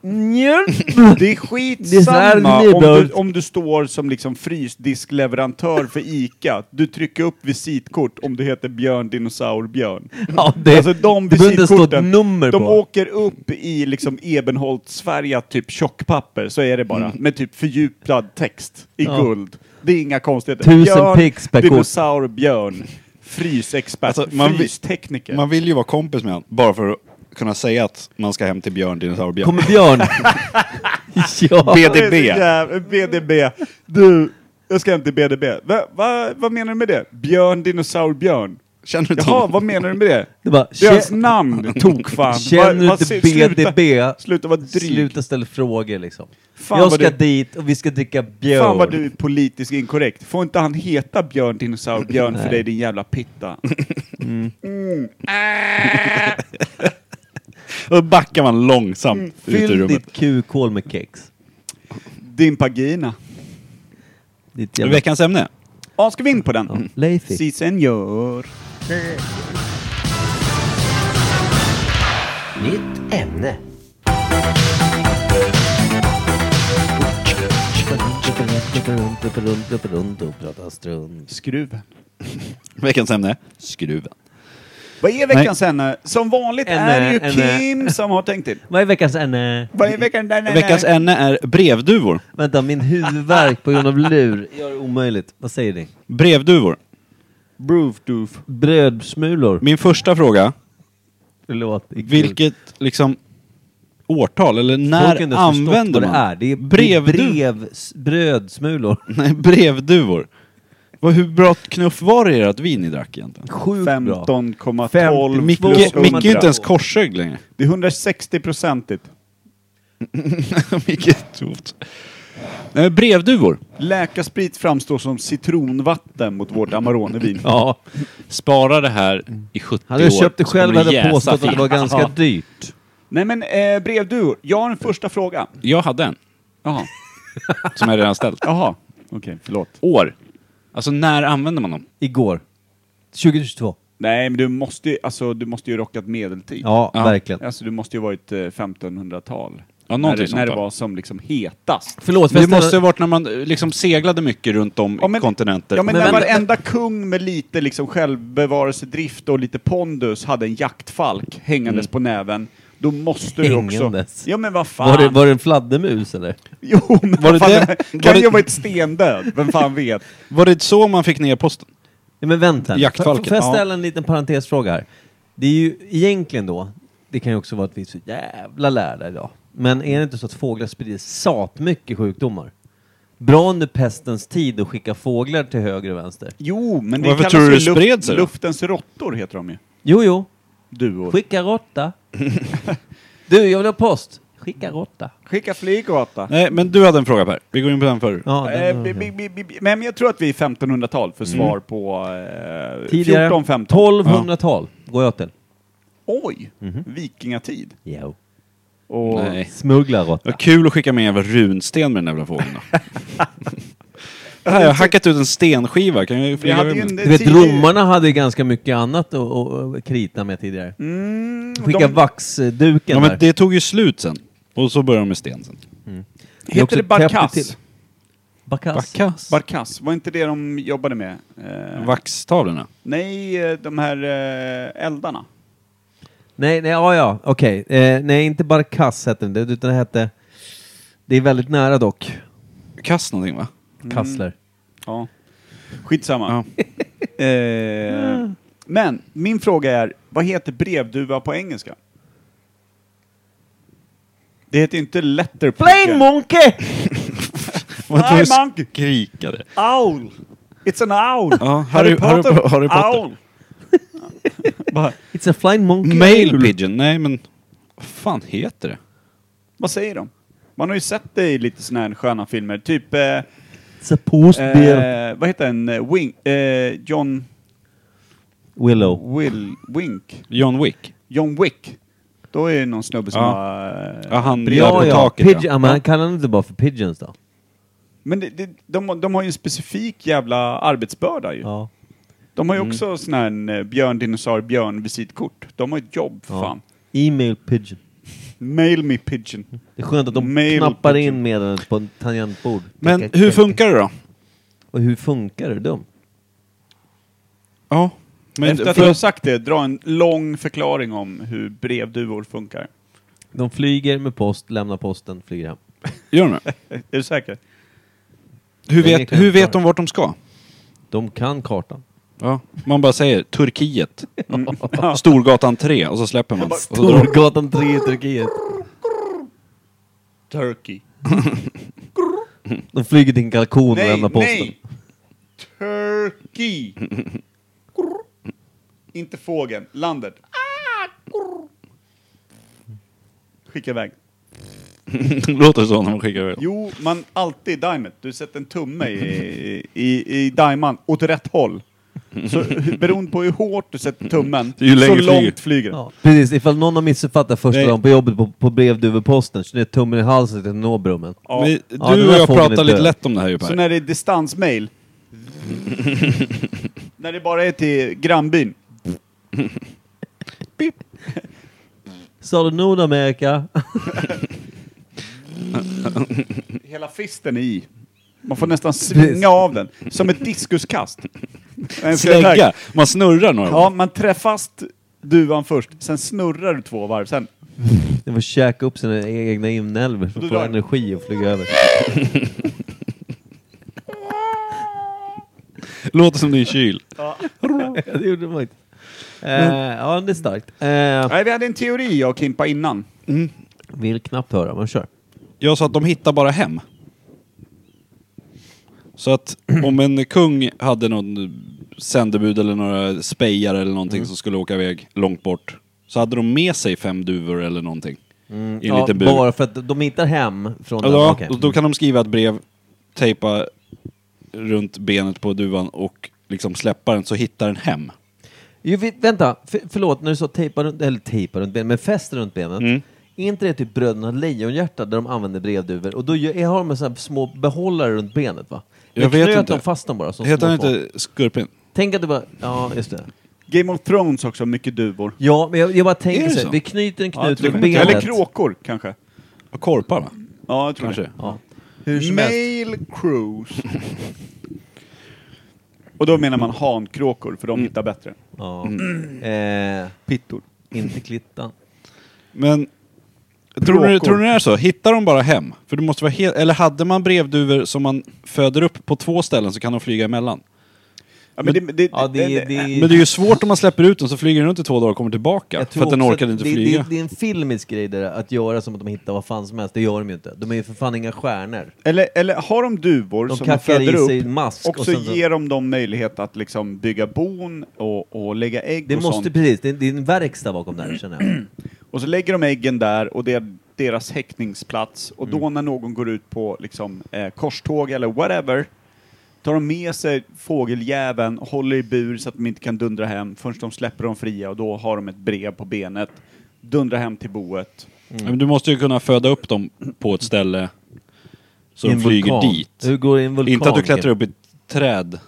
Njörn. Det är Det är skitsamma så här om du, nybörjare. om du står som liksom frysdiskleverantör för ICA. Du trycker upp visitkort om du heter Björn Dinosaur Björn. [LAUGHS] Ja, det, alltså de det behöver inte stå ett visitkorten, nummer de på. åker upp i liksom ebenholtsfärgat typ tjockpapper, så är det bara, med typ fördjupad text i Mm. Ja. guld. Det är inga konstigheter. Tusen pics per kort. dinosaur, björn, frysexpert, Alltså, man vill- frystekniker. Man vill ju vara kompis med honom, bara för att kunna säga att man ska hem till Björn Dinosaur Björn. Kommer [LAUGHS] Björn? ja. BDB. Det är så jävla- BDB. Du, jag ska hem till BDB. Va, va, vad menar du med det? Björn, dinosaur, [LAUGHS] björn. Känner du inte Jaha, honom? vad menar du med det? Det bara, Det är hans kä- [LAUGHS] namn, tokfan. känner du Va- va- inte se- BDB? Sluta, sluta vara dryg. Sluta ställa frågor liksom. Fan jag vad ska du- dit och vi ska dricka björn. Fan vad du är politiskt inkorrekt. Får inte han heta Björn Dinosaur Björn för Nej. dig din jävla pitta? Då backar man långsamt ut ur Mm, Fyll rummet. ditt kukhål med kex. Din pagina. Ditt Är det jävla... Veckans ämne? Ja, ska vi in på den? Ja, Leifik. Si senor. Nytt ämne. Prata strunt. Skruven. Veckans ämne? Skruven. Vad är veckans ämne? Som vanligt Ämne, är det ju ämne. Kim som har tänkt till. Vad är veckans ämne? Vad är veckan där? nej, Veckans nej. ämne är brevduvor. Vänta, min huvudvärk på grund av lur gör det omöjligt. Vad säger ni? Brevduvor. Broof doof. Brödsmulor. Min första fråga. Låt icke- Vilket liksom årtal eller Folk har när inte ens förstått använder vad man? det är. Det är Brevdu- brev, brödsmulor. Nej, brevduvor. Vad, hur bra knuff var det i ert vin ni drack [LAUGHS] egentligen? Sjukt bra. 15,12 Micke, plus Micke är 100. inte ens [LAUGHS] korsögd längre. Det är 160 procentigt. Micke är tufft. Nej, Eh, brevduvor. Läkarsprit framstår som citronvatten mot vårt Amaronevin. Ja. Spara det här i 70 Hade jag år. köpt det så själv kommer hade jag jäsa påstått att det fint. var ganska Ja. dyrt. Nej men eh, brevduvor. Jag har en första fråga. Jag hade en Jaha. som jag redan ställt. Jaha. Okej, förlåt. År. Alltså när använder man dem? Igår. 2022. Nej men du måste ju, alltså du måste ju rockat medeltid. Ja, Ja. verkligen. Alltså du måste ju varit eh, 1500-tal. Ja, när, någonting det- sånt när det va? var som liksom hetast. Förlåt, Det måste ha varit när man eh, liksom seglade mycket runt om Ja, i kontinenter. Ja men, Men när vänta. varenda kung med lite liksom självbevarelsedrift och lite pondus hade en jaktfalk hängandes Mm. på näven, då måste du också... Hängandes? Ja men vad fan! var, det, var det en fladdermus eller? [LAUGHS] Jo men Var vad [LAUGHS] det fan, det- kan var det- ju ha varit stendöd, vem fan vet? Var det så man fick ner posten? Ja, men vänta. här. Jaktfalken. Får- Får jag Ja. ställa en liten parentesfråga här? Det är ju egentligen då, det kan ju också vara att vi är så jävla lärda idag. Men är det inte så att fåglar sprider satmycket sjukdomar? Bra under pestens tid att skicka fåglar till höger och vänster. Jo, men det Varför kallas tror du ju det spred sig då? luftens råttor heter de ju. Jo, jo. Duor. Skicka råtta. du, jag vill ha post. Skicka råtta. Skicka flygråtta. Nej, men du hade en fråga Per. Vi går in på den förr. Ja, den Eh, har bi- jag. bi- bi- bi- bi- Men jag tror att vi är 1500-tal för svar på eh, Tidigare 14-15. 1200-tal går jag till. Oj! Mhm. Vikingatid. Jo. Och Nej. Smugglarråtta. Vad kul att skicka med en jävla runsten med den jävla fågeln då. Här, jag har hackat ut en stenskiva. Kan jag vi flyga hade ju över en den? Du vet, tidig- romarna hade ju ganska mycket annat att, att att krita med tidigare. Mm, Skicka de- vaxduken Ja, där. men det tog ju slut sen. Och så började de med sten sen. är Heter också det täppt till. barkass? Bacchus. Barkass, var inte det de jobbade med? Eh, Vaxtavlorna. nej, eh, de här eh, eldarna. Nej, nej, ja, ja, okej. Eh, nej, inte Barkass hette det, utan det hette... Det är väldigt nära dock. Kast någonting va? Kassler. Ja. Skitsamma. [LAUGHS] eh, men, min fråga är, vad heter brevduva på engelska? Det heter ju inte letterpigeon. Plain monkey! Fly monkey! Skrikade. Owl! It's an owl! Ja, Harry- Harry- Harry Potter. Owl! Bara, It's a flying monkey. Mail pigeon. Nej men... Vad fan heter det? vad säger de? Man har ju sett det i lite såna här sköna filmer, typ... Eh, It's a post beer. Eh, vad heter den? Eh, Wing, eh, John Willow. Will, Wink? John Wick? John Wick. Då är det någon snubbe som Ja. har... eh, Ja, han Ja, på ja. taket Pidge- ja. ja. Men han kallar dem inte bara för pigeons då? Men det, det, de, de har ju en specifik jävla arbetsbörda ju. Ja. De har Mm. ju också sån här eh, björn, dinosaur, björn visitkort. De har ett jobb för Ja. fan. E-mail pigeon. Mail me pigeon. Det är skönt att de Mail knappar pigeon. in meddelandet på en tangentbord. Men hur funkar det då? Och hur funkar det? Dum? Ja. Men Efter att för- jag har sagt det, dra en lång förklaring om hur brevduvor funkar. De flyger med post, lämnar posten, flyger hem. Gör de [LAUGHS] det? Är du säker? Nej, Hur det vet, kan hur jag vet inte. de vart de ska? De kan kartan. Ja. Man bara säger Turkiet. Mm. [LAUGHS] Storgatan 3 och så släpper man. Och så [LAUGHS] drar- Storgatan 3 i Turkiet. Turkey. De flyger till en kalkon och Nej, lämnar posten. nej! Turkey! Grr. Inte fågeln, landet. Ah, grr. Skicka iväg. Låter [LAUGHS] det så när man skickar iväg dem? Jo, man alltid dimet. Du sätter en tumme i, i, i dimman åt rätt håll. Så hu- beroende på hur hårt du sätter tummen, Ju längre så flyger. långt flyger den. Ja, precis, ifall någon har missuppfattat första Nej. dagen på jobbet på, på brevduveposten så är det tummen i halsen till Nåbrummen. Ja. Men du Ja, den och där jag fågeln pratar är lite död. lätt om det här ju Så Per. när det är [LAUGHS] distansmail, när det bara är till grannbyn. Sa du Nordamerika? [LAUGHS] Hela fisten är i. Man får nästan svinga av den. Som ett [LAUGHS] diskuskast. En Slägga. Man snurrar några Ja, gånger. man trär fast duvan först, sen snurrar du två varv, sen... Den får käka upp sina egna inälvor för Då att få drar- energi och flyga över. Låter som din kyl. [LAUGHS] det gjorde det faktiskt. Eh, ja, det är starkt. Eh, Nej, vi hade en teori jag och Kimpa innan. vill knappt höra, men kör. Jag sa att de hittar bara hem. Så att om en kung hade någon sändebud eller några spejare eller Mm. någonting som skulle åka iväg långt bort. Så hade de med sig fem duvor eller någonting. I en Mm. Ja, liten bur. bara för att de hittar hem från Ja, den. då, okej. och då kan de skriva ett brev, tejpa runt benet på duvan och liksom släppa den så hittar den hem. Jo, vi- vänta, F- förlåt, när du sa tejpa runt, eller tejpa runt benet, men fäst runt benet. Mm. Är inte det typ Bröderna Lejonhjärta där de använder brevduvor? Och då gör- har de så här små behållare runt benet va? Jag Men vet knöt inte. de fast dem bara? Som Heter små han tån? inte Skurpin? Tänk att det var... Ja, just det. Game of Thrones också, mycket duvor. Ja, men jag, jag bara tänker det så? här, så? Vi knyter en knut runt benet. Eller kråkor kanske. Och korpar va? Ja, jag tror Kanske. Ja. Hur det. som helst. Male cruise. [LAUGHS] Och då menar man hankråkor, för de Mm. hittar bättre. Ja. Eh, Pittor. inte klittan. Men tror ni, Kråkor. tror ni det är så? Hittar de bara hem? För det måste vara helt, eller hade man brevduvor som man föder upp på två ställen så kan de flyga emellan? Ja, men det, det, Ja, det, det, Men det är ju svårt om man släpper ut den så flyger den runt i två dagar och kommer tillbaka. jag För tror att den också orkade inte det, flyga. Det, det är en filmisk grej där, att göra som att de hittar vad fan som helst. Det gör de ju inte. De är ju för fan inga stjärnor. Eller, eller har de duvor De som de kackar föder i sig upp mask och och så sen så- ger de dem möjlighet att liksom bygga bon och, och lägga ägg Det och måste sånt. precis, det är, det är en verkstad bakom det här känner jag. Och så lägger de äggen där och det är deras häckningsplats. Och Mm. då när någon går ut på liksom, eh, korståg eller whatever tar de med sig fågeljäveln och håller i bur så att de inte kan dundra hem förrän de släpper dem fria och då har de ett brev på benet. Dundrar hem till boet. Men du måste ju kunna föda upp dem på ett ställe [CLEARS THROAT] så I de en flyger vulkan. dit. Hur går det i en vulkan? Inte att du klättrar upp i ett träd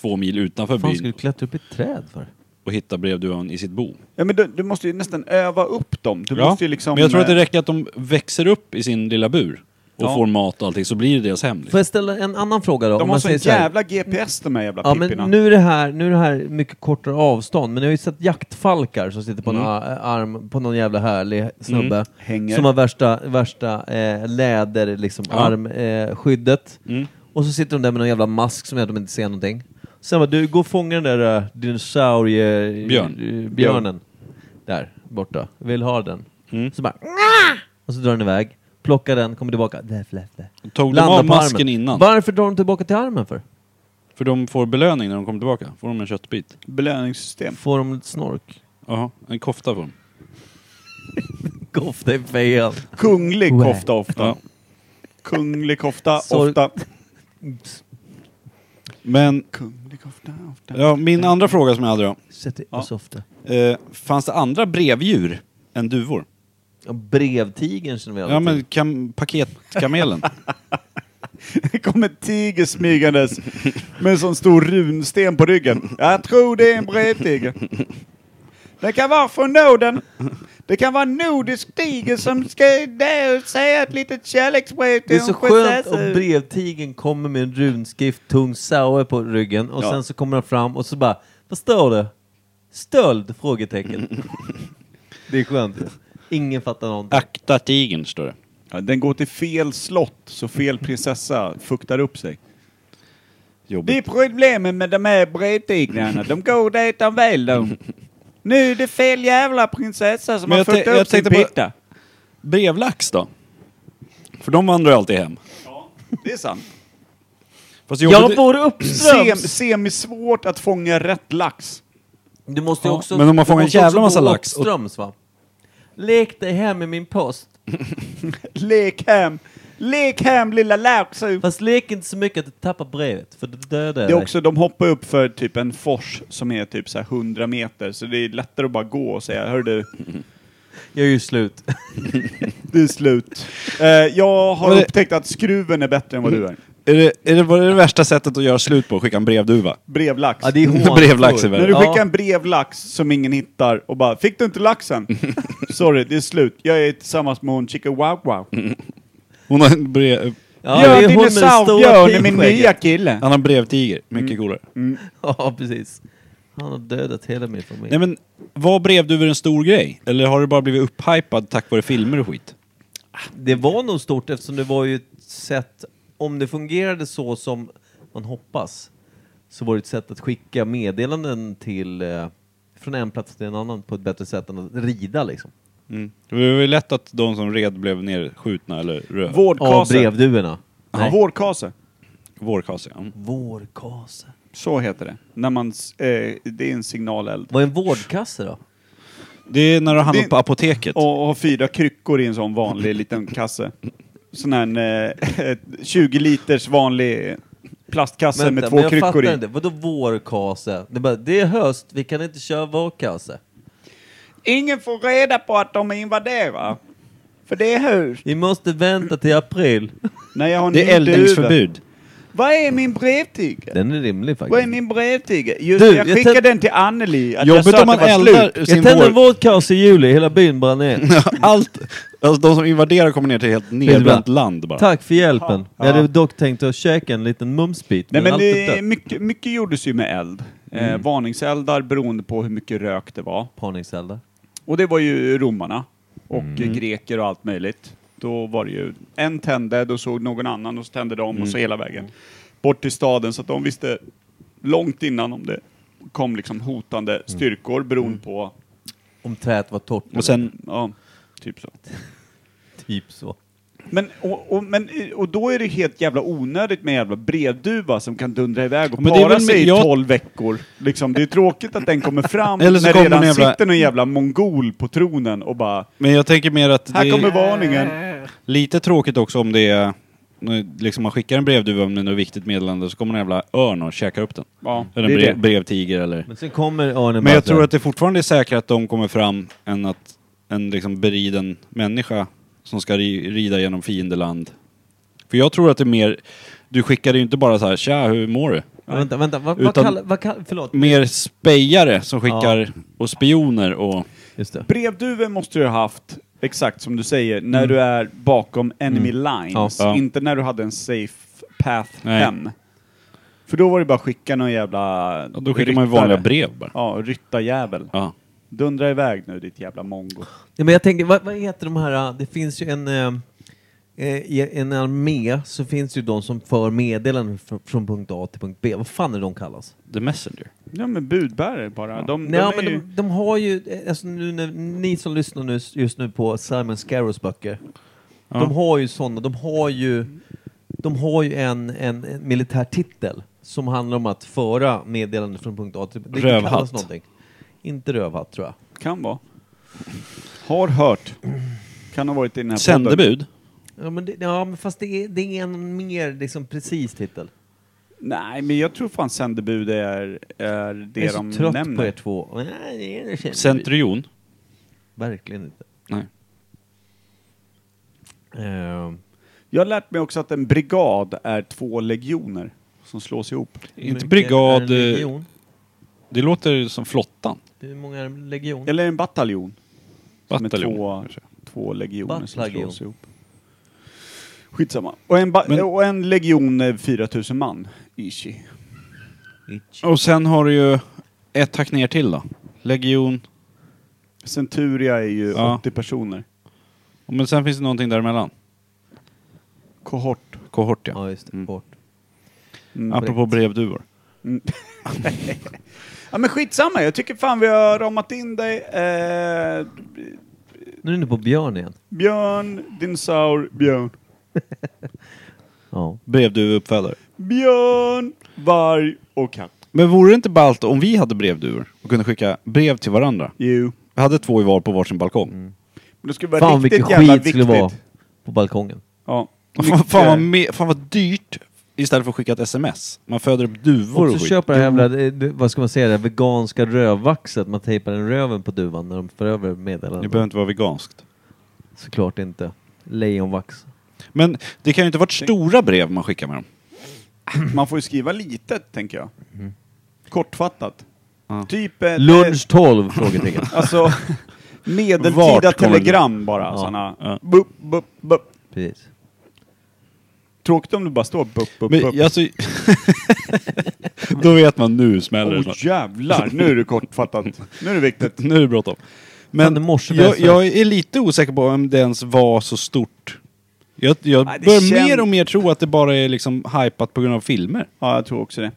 två mil utanför Vad fan ska du byn klättra upp i ett träd för? och hittar brevduvan i sitt bo. Ja, men du, du måste ju nästan öva upp dem. Du Ja, måste ju liksom... men jag tror att det eh, räcker att de växer upp i sin lilla bur och Ja. får mat och allting så blir det deras hem. Får Liksom. jag ställa en annan fråga då? Om De har man sån säger så här- jävla GPS de här jävla Ja, pippina. men nu är, det här, nu är det här mycket kortare avstånd, men jag har ju sett jaktfalkar som sitter på Mm. en a- arm på någon jävla härlig snubbe. Hänger. Som har värsta, värsta eh, läder, liksom, armskyddet. Eh, skyddet. Mm, Och så sitter de där med någon jävla mask som gör att de inte ser någonting. Sen bara, du, gå och fånga den där eh, dinosaurie... Björn. eh, Björnen. Där borta. Vill ha den. mm. Så bara... Och så drar den iväg. Plockar den, kommer tillbaka. Där, där, där. Tog de Landar av på armen. masken innan? Varför drar de tillbaka till armen för? För de får belöning när de kommer tillbaka. Får de en köttbit? Belöningssystem. Får de lite snork? Jaha, en kofta får de. Kofta är fel. Kunglig Wow. kofta ofta. Ja. Kunglig [LAUGHS] kofta Sorry. ofta. Men Kunglig kofta ofta. ja, min andra fråga som jag hade då. Sätter Ja. ja. så ofta. Eh, fanns det andra brevdjur än duvor? Ja, brevtigern känner vi alla Ja till. men kam- paketkamelen. Det kom en tiger smygandes med en sån stor runsten på ryggen. Jag tror det är en brevtiger. Det kan vara från Norden. Det kan vara en nordisk tiger som ska där säga ett litet kärleksbrev till Det är så en skönt prinsessa. om brevtigern kommer med en runskrift, tung saue på ryggen och Ja. sen så kommer han fram och så bara, vad står det? Stöld? Frågetecken. det är skönt. Ingen fattar någonting. [LAUGHS] Akta tigern står det. Ja, Den går till fel slott så fel prinsessa fuktar upp sig. Det är Jobbigt. problemet med de här brevtigrarna. De går dit de vill de. Nu är det fel jävla prinsessa som Men har jag fått tän- jag upp sin tänkte bara- pitta. Brevlax då? För de vandrar ju alltid hem. Det är sant. Fast Jag jobbigt- bor uppströms! Semisvårt att fånga rätt lax. Du måste ju Ja, också... men om man får du en måste jävla också massa bo lax och- Uppströms va? Lek dig hem med min post. Lek hem. Lek hem lilla laxu. Fast lek inte så mycket att du tappar brevet, för det dödar Det är också, de hoppar upp för typ en fors som är typ så här 100 meter, så det är lättare att bara gå och säga hör du, Jag är ju slut. det är slut. Eh, jag har Men det- Mm. upptäckt att skruven är bättre än vad du är. Är det, är det, vad är det värsta sättet att göra slut på? Skicka en brevduva? Brevlax. [LAUGHS] Ja, det är hån. Brevlax är När du värre. Ja. skickar en brevlax som ingen hittar och bara “Fick du inte [LAUGHS] laxen?” Sorry, det är slut. Jag är tillsammans med hon Chicka Wow Wow. Mm. Hon har en brev... Ja, det är Björn hon med det stora Dinosaur-Björn är min pigskägget. nya kille. Han har en brevtiger. Mycket coolare. [LAUGHS] Ja, precis. Han har dödat hela min familj. Nej men, var brevduvor en stor grej? Eller har det bara blivit upphypad tack vare filmer och skit? Det var nog stort eftersom det var ju ett sätt, om det fungerade så som man hoppas, så var det ett sätt att skicka meddelanden till, eh, från en plats till en annan på ett bättre sätt än att rida liksom. Mm. Det var ju lätt att de som red blev nerskjutna eller röv. Av Vårdkase. brevduvorna. Ja, Vårdkase. Vårkase, ja. Vårdkase. Så heter det. När man, s- eh, det är en signaleld. Vad är en vårdkasse då? Det är när du handlar Det- på apoteket. Och ha fyra kryckor i en sån vanlig liten kasse. Sån här eh, [LAUGHS] 20 liters vanlig plastkasse med två men jag kryckor fattar i. inte. Vadå vårkase? Det är, bara, det är höst, vi kan inte köra vårkase. Ingen får reda på att de är invaderare. För det är hur? Vi måste vänta till april. [LAUGHS] Nej, jag har Det är en ny duva. eldningsförbud. Vad är min brevtiger? Den är rimlig Vad är faktiskt. min brevtiger? Just Du, det, jag jag skickade tänd- den till Anneli. Att jag Jobbigt sa om att man det var slut. eldar sin Jag tände en vår... vårdkasse i juli, hela byn brann ner. Allt, alltså de som invaderar kommer ner till helt nedbränt land bara. Tack för hjälpen. Jag hade dock tänkt att käka en liten mumsbit. Nej, men allt det, är är dött. mycket, mycket gjordes ju med eld. Mm. Eh, varningseldar beroende på hur mycket rök det var. Parningseldar. Och det var ju romarna och Mm. greker och allt möjligt. Då var det ju, en tände, då såg någon annan och så tände de och så Mm. hela vägen bort till staden. Så att de visste långt innan om det kom liksom Mm. hotande styrkor beroende på, Om träet var torrt. Och sen, ja, typ så. Typ så. Men och, och, men, och då är det helt jävla onödigt med en jävla brevduva som kan dundra iväg och Men det är para väl sig med- jag- i 12 veckor. Liksom, det är tråkigt att den kommer fram [LAUGHS] Eller så när det kommer redan en jävla- sitter någon jävla mongol på tronen och bara men jag tänker mer att det Här kommer är varningen. lite tråkigt också om det är, nu liksom man skickar en brevduva med något viktigt meddelande så kommer en jävla örn och käkar upp den. Ja, Eller det en är brev, det. brevtiger eller... Men sen kommer Arne Men jag Bassler. tror att det fortfarande är säkrare att de kommer fram än att en liksom beriden människa som ska ri- rida genom fiendeland. För jag tror att det är mer, du skickar ju inte bara så här tja hur mår du? Ja, vänta, vänta. Vad, vad, Utan- kallar, vad kallar... Förlåt. Mer spejare som skickar och spioner och... Just det. Brevduvor måste du ha haft, exakt som du säger, när du är bakom enemy lines. Mm. Ja. Inte när du hade en safe path Nej. hem. För då var det bara att skicka någon jävla... och då skickar man ju ryttare. vanliga brev bara. Ja, ryttarjävel. Ja. Dundra iväg nu ditt jävla mongo. Ja, men jag tänker, vad, vad heter de här... äh, Det finns ju en... Äh, I en armé så finns ju de som för meddelanden från, från punkt A till punkt B. Vad fan är de kallas? The Messenger. Ja men budbärare bara. De, de Nej, är men ju... de, de har ju, eh, alltså nu, när, ni som lyssnar nu, just nu på Simon Scarrows böcker, de har ju sådana, de har ju, de har ju en, en, en militär titel som handlar om att föra meddelande från punkt A till det Rövhatt. kallas någonting. Inte rövhatt tror jag. Kan vara. Har hört. Kan ha varit i den här podden. Sändebud? Ja men, det, ja, men fast det är, det är en mer liksom, precis titel. Nej, men jag tror fan sändebud är, är det jag är så de trött nämner. på er två. Nej, det är det känner vi. Centurion? Verkligen inte. Nej. Ehm, Jag har lärt mig också att en brigad är två legioner som slås ihop. Inte mycket brigad, eh, är en eh, legion? Det låter som flottan. Hur många är en legion? Eller en bataljon. Bataljon. Med två, två legioner som Bataljon. slås ihop. Skitsamma. Och en, ba- Men- och en legion är 4000 man. Ishi. Itch. Och sen har du ju ett hack ner till då. Legion. Centuria är ju Ja. 80 personer. Men sen finns det någonting däremellan. Kohort. Kohort ja. Ja, just det. Mm. Bort. Mm. Apropå brevduvor. Ja men skitsamma, jag tycker fan vi har ramat in dig. Eh, Nu är du inne på Björn igen. björn, dinosaur, björn. Ja. Brevduveuppfödare. Björn, varg och katt. Men vore det inte ballt om vi hade brevduvor och kunde skicka brev till varandra? Jo. Vi hade två i var på varsin balkong. Men det skulle vara Fan vilken riktigt jävla skit viktigt. skulle vara på balkongen. Ja. [LAUGHS] Fan, fan, vad Mycket- me- fan vad dyrt istället för att skicka ett sms. Man föder upp duvor Och och så skit. köper det här jävla, eh, det- vad ska man säga, det här veganska rövvaxet. Man tejpar en röven på duvan när de för över Det meddelandet. behöver inte vara veganskt. Såklart inte. Lejonvax. Eh, Men det kan ju inte ha varit stora brev man skickar med dem. Man får ju skriva litet, tänker jag. Kortfattat. Mm. Ja. Typ ett, Lunch 12? [LAUGHS] Frågetecken. eh, [LAUGHS] Alltså, Vart medeltida kommer telegram bara. Ja. Såna. Ja. Bup, bup, bup. Precis. Tråkigt om det bara står bup, bup, bup. Men, alltså, [LAUGHS] då vet man nu smäller det. Åh snart. jävlar, nu är det kortfattat. Nu är det viktigt. [LAUGHS] Nu är det bråttom. Fan, Men det morse med jag, sms. jag är lite osäker på om det ens var så stort. Jag, jag Nej, det börjar känns- mer och mer tro att det bara är liksom hypat på grund av filmer. Mm. Ja, jag tror också det.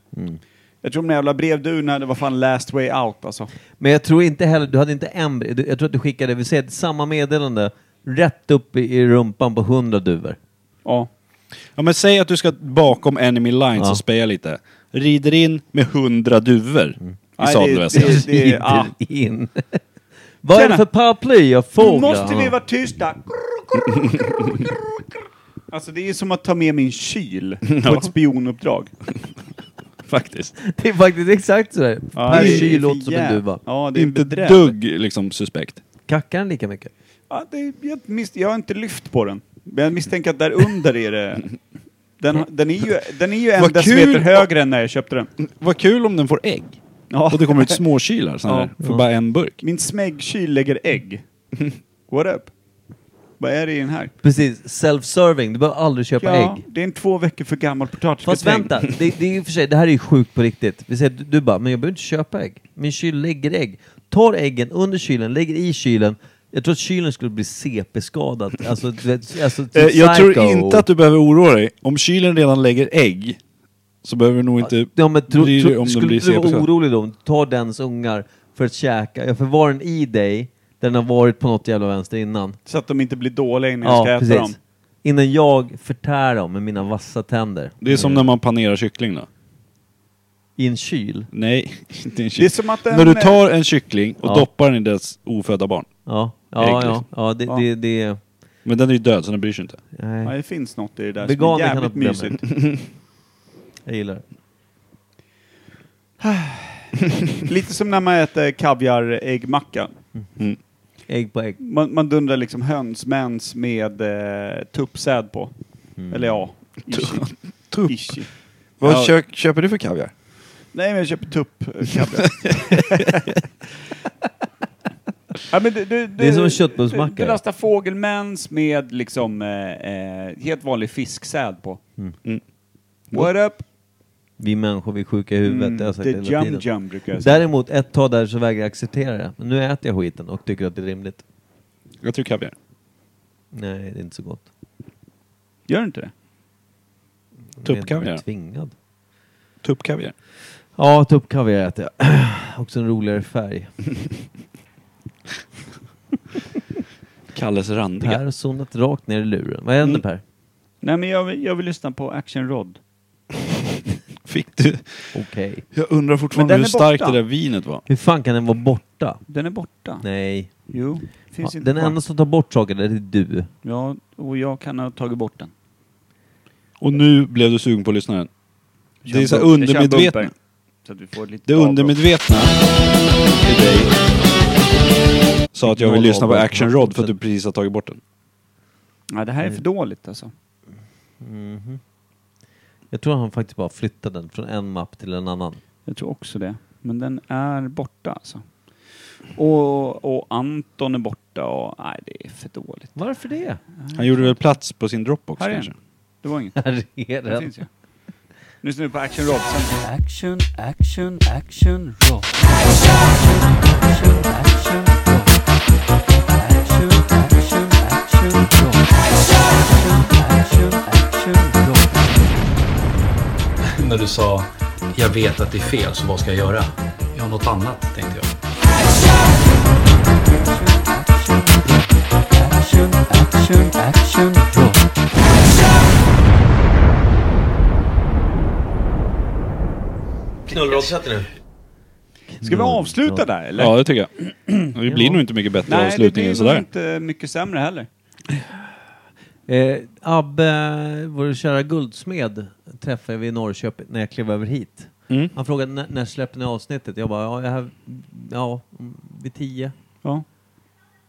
Jag tror de där jävla brevdurorna, hade var fan last way out alltså. Men jag tror inte heller, du hade inte en, du- jag tror att du skickade, vi säger samma meddelande, rätt upp i, i rumpan på hundra duvor. Ja. Ja men säg att du ska bakom enemy lines Ja. och speja lite. Rider in med hundra duvor Mm. i Nej, det- sadelväskan. det- det- Sitter ja. in. Vad är det Tjena. för paraply och Nu fåglar? måste Ja. vi vara [LAUGHS] tysta! Alltså det är som att ta med min [LAUGHS] kyl på ett spionuppdrag. [LAUGHS] Faktiskt. Det är faktiskt exakt sådär. Ja, per det är kyl för låter som en jävla- duva. Ja, det är Inte bedräv. dugg liksom suspekt. Kackar den lika mycket? Ja, det är, jag, mis- jag har inte lyft på den. Men jag misstänker att där under är det... Den, har- den, är, ju, den är ju en Vad decimeter kul! högre än när jag köpte den. Vad kul om den får ägg. Ja. Och det kommer ut småkylar såna här, för bara en burk. Min smäggkyl lägger [LAUGHS] ägg. What up? Vad är det i den här? Precis, self-serving. Du behöver aldrig köpa ägg. det är en två veckor för gammal potatisgratäng. Fast vänta, det, det är ju i och för sig, det här är ju sjukt på riktigt. Vi säger, du, du bara, men jag behöver inte köpa ägg. Min kyl lägger ägg. Tar äggen under kylen, lägger i kylen. Jag tror att kylen skulle bli CP-skadad. Alltså, du vet, alltså typ Eh, jag tror psycho. inte att du behöver oroa dig. Om kylen redan lägger ägg så behöver du nog inte Ja, men tro, bry dig tro, Typ, om den skulle blir inte du vara CP. orolig då? Ta dens ungar för att käka. Jag förvarar den i dig, där den har varit på något jävla vänster innan. Så att de inte blir dåliga innan jag ska äta dem. Innan jag förtär dem med mina vassa tänder. Det är som när man panerar kyckling då. I en kyl. Nej, [LAUGHS] inte en kyckling. Det är som att eh, den- När du tar en kyckling och Ja. doppar den i dess ofödda barn. Ja, Ägg, ja, ja. liksom. ja, det, Ja. det, det, Men den är ju död så den bryr sig inte. Ja, nej. det finns något i det där Veganer som är kan ha jävligt problem mysigt. Jag gillar det. Lite som när man äter kaviaräggmacka. Ägg på ägg. Man, man dundrar liksom hönsmens med eh, tuppsäd på. Eller ja, ishi. Tupp. ishi. Vad Ja. kö- köper du för kaviar? Nej, men jag köper tupp eh, kaviar. [LAUGHS] ja, men du, du, Det är som en köttbullsmacka, Du, du ja. lastar fågelmens med liksom eh, eh, helt vanlig fisksäd på. Mm. Mm. What up? Vi människor, vi är sjuka i huvudet. det har jag sagt the hela jum tiden. jum brukar jag säga. Däremot, ett tag där så vägrar jag acceptera det. Men nu äter jag skiten och tycker att det är rimligt. Jag tror kaviar. Nej, det är inte så gott. Gör du inte det? Jag är Tuppkaviar. inte tvingad. Tuppkaviar. Ja, [CLEARS THROAT] tuppkaviar äter jag. Också en roligare färg. Kalles randiga. Per har zonat rakt ner i luren. Vad Mm. händer Per? Nej, men jag vill, jag vill lyssna på Action Rod. Fick du? [LAUGHS] Okej. Jag undrar fortfarande den hur är borta. starkt det där vinet var. Hur fan kan den vara borta? Den är borta. Nej. Jo, Ja, finns inte den kvar. enda som tar bort saker det är du. Ja, och jag kan ha tagit bort den. Och nu blev du sugen på att lyssna den. Det är så här Jag kör bumper, undermedvetna. Så att vi får lite Det avbrott. undermedvetna i dig sa att jag vill lyssna på Action Rod för att du precis har tagit bort den. Ja, det här är för dåligt alltså. Jag tror han faktiskt bara flyttade den från en mapp till en annan. Jag tror också det. Men den är borta alltså. Och, och Anton är borta och nej, det är för dåligt. Varför det? Han gjorde väl plats på sin Dropbox Här är kanske? den. Det var [LAUGHS] inget. Här är Det den. finns ju. Nu lyssnar vi på Action Rod. Sen. Action, action, action, roll. Action, action, roll. Action, action, action, roll. Action, action, action, roll. [LAUGHS] när du sa jag vet att det är fel, så vad ska jag göra? Ja, något annat, tänkte jag. Action, action, action, roll. Knullråttkött nu. Ska vi avsluta där eller? Mm. Ja, det tycker [CLEARS THROAT] jag. Det blir nog inte mycket bättre Nej, det avslutning än blir nog sådär. inte mycket sämre heller. Eh, Abbe, vår kära guldsmed, träffade vi i Norrköping när jag klev över hit. Mm. Han frågade "När- när släpper ni avsnittet? Jag bara, ja, jag här, ja mm, vid tio. Ja.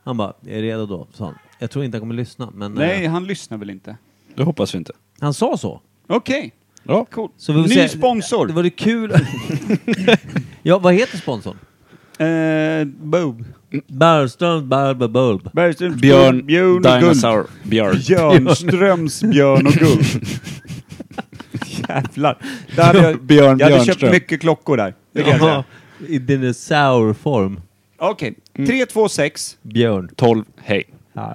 Han bara, är redo då? sa han. Jag tror inte han kommer lyssna, men Nej, eh, han lyssnar väl inte. Det hoppas vi inte. han sa så. Okej. Ja. Cool. Så vi får Ny se- sponsor! Det var det kul. [LAUGHS] ja, vad heter sponsorn? Eh, Bob. Bergström Barber Bulb. Bergströms Björn, Björn och Guld. Dinosaur, Björn. Björnströms Björn och Guld. [LAUGHS] Jävlar. Där hade jag, Björn jag hade Björnström. köpt mycket klockor där. Det kan jag säga. Jaha, I dinosaurform. Okej. 3, 2, 6. Björn. 12, hej. Ja.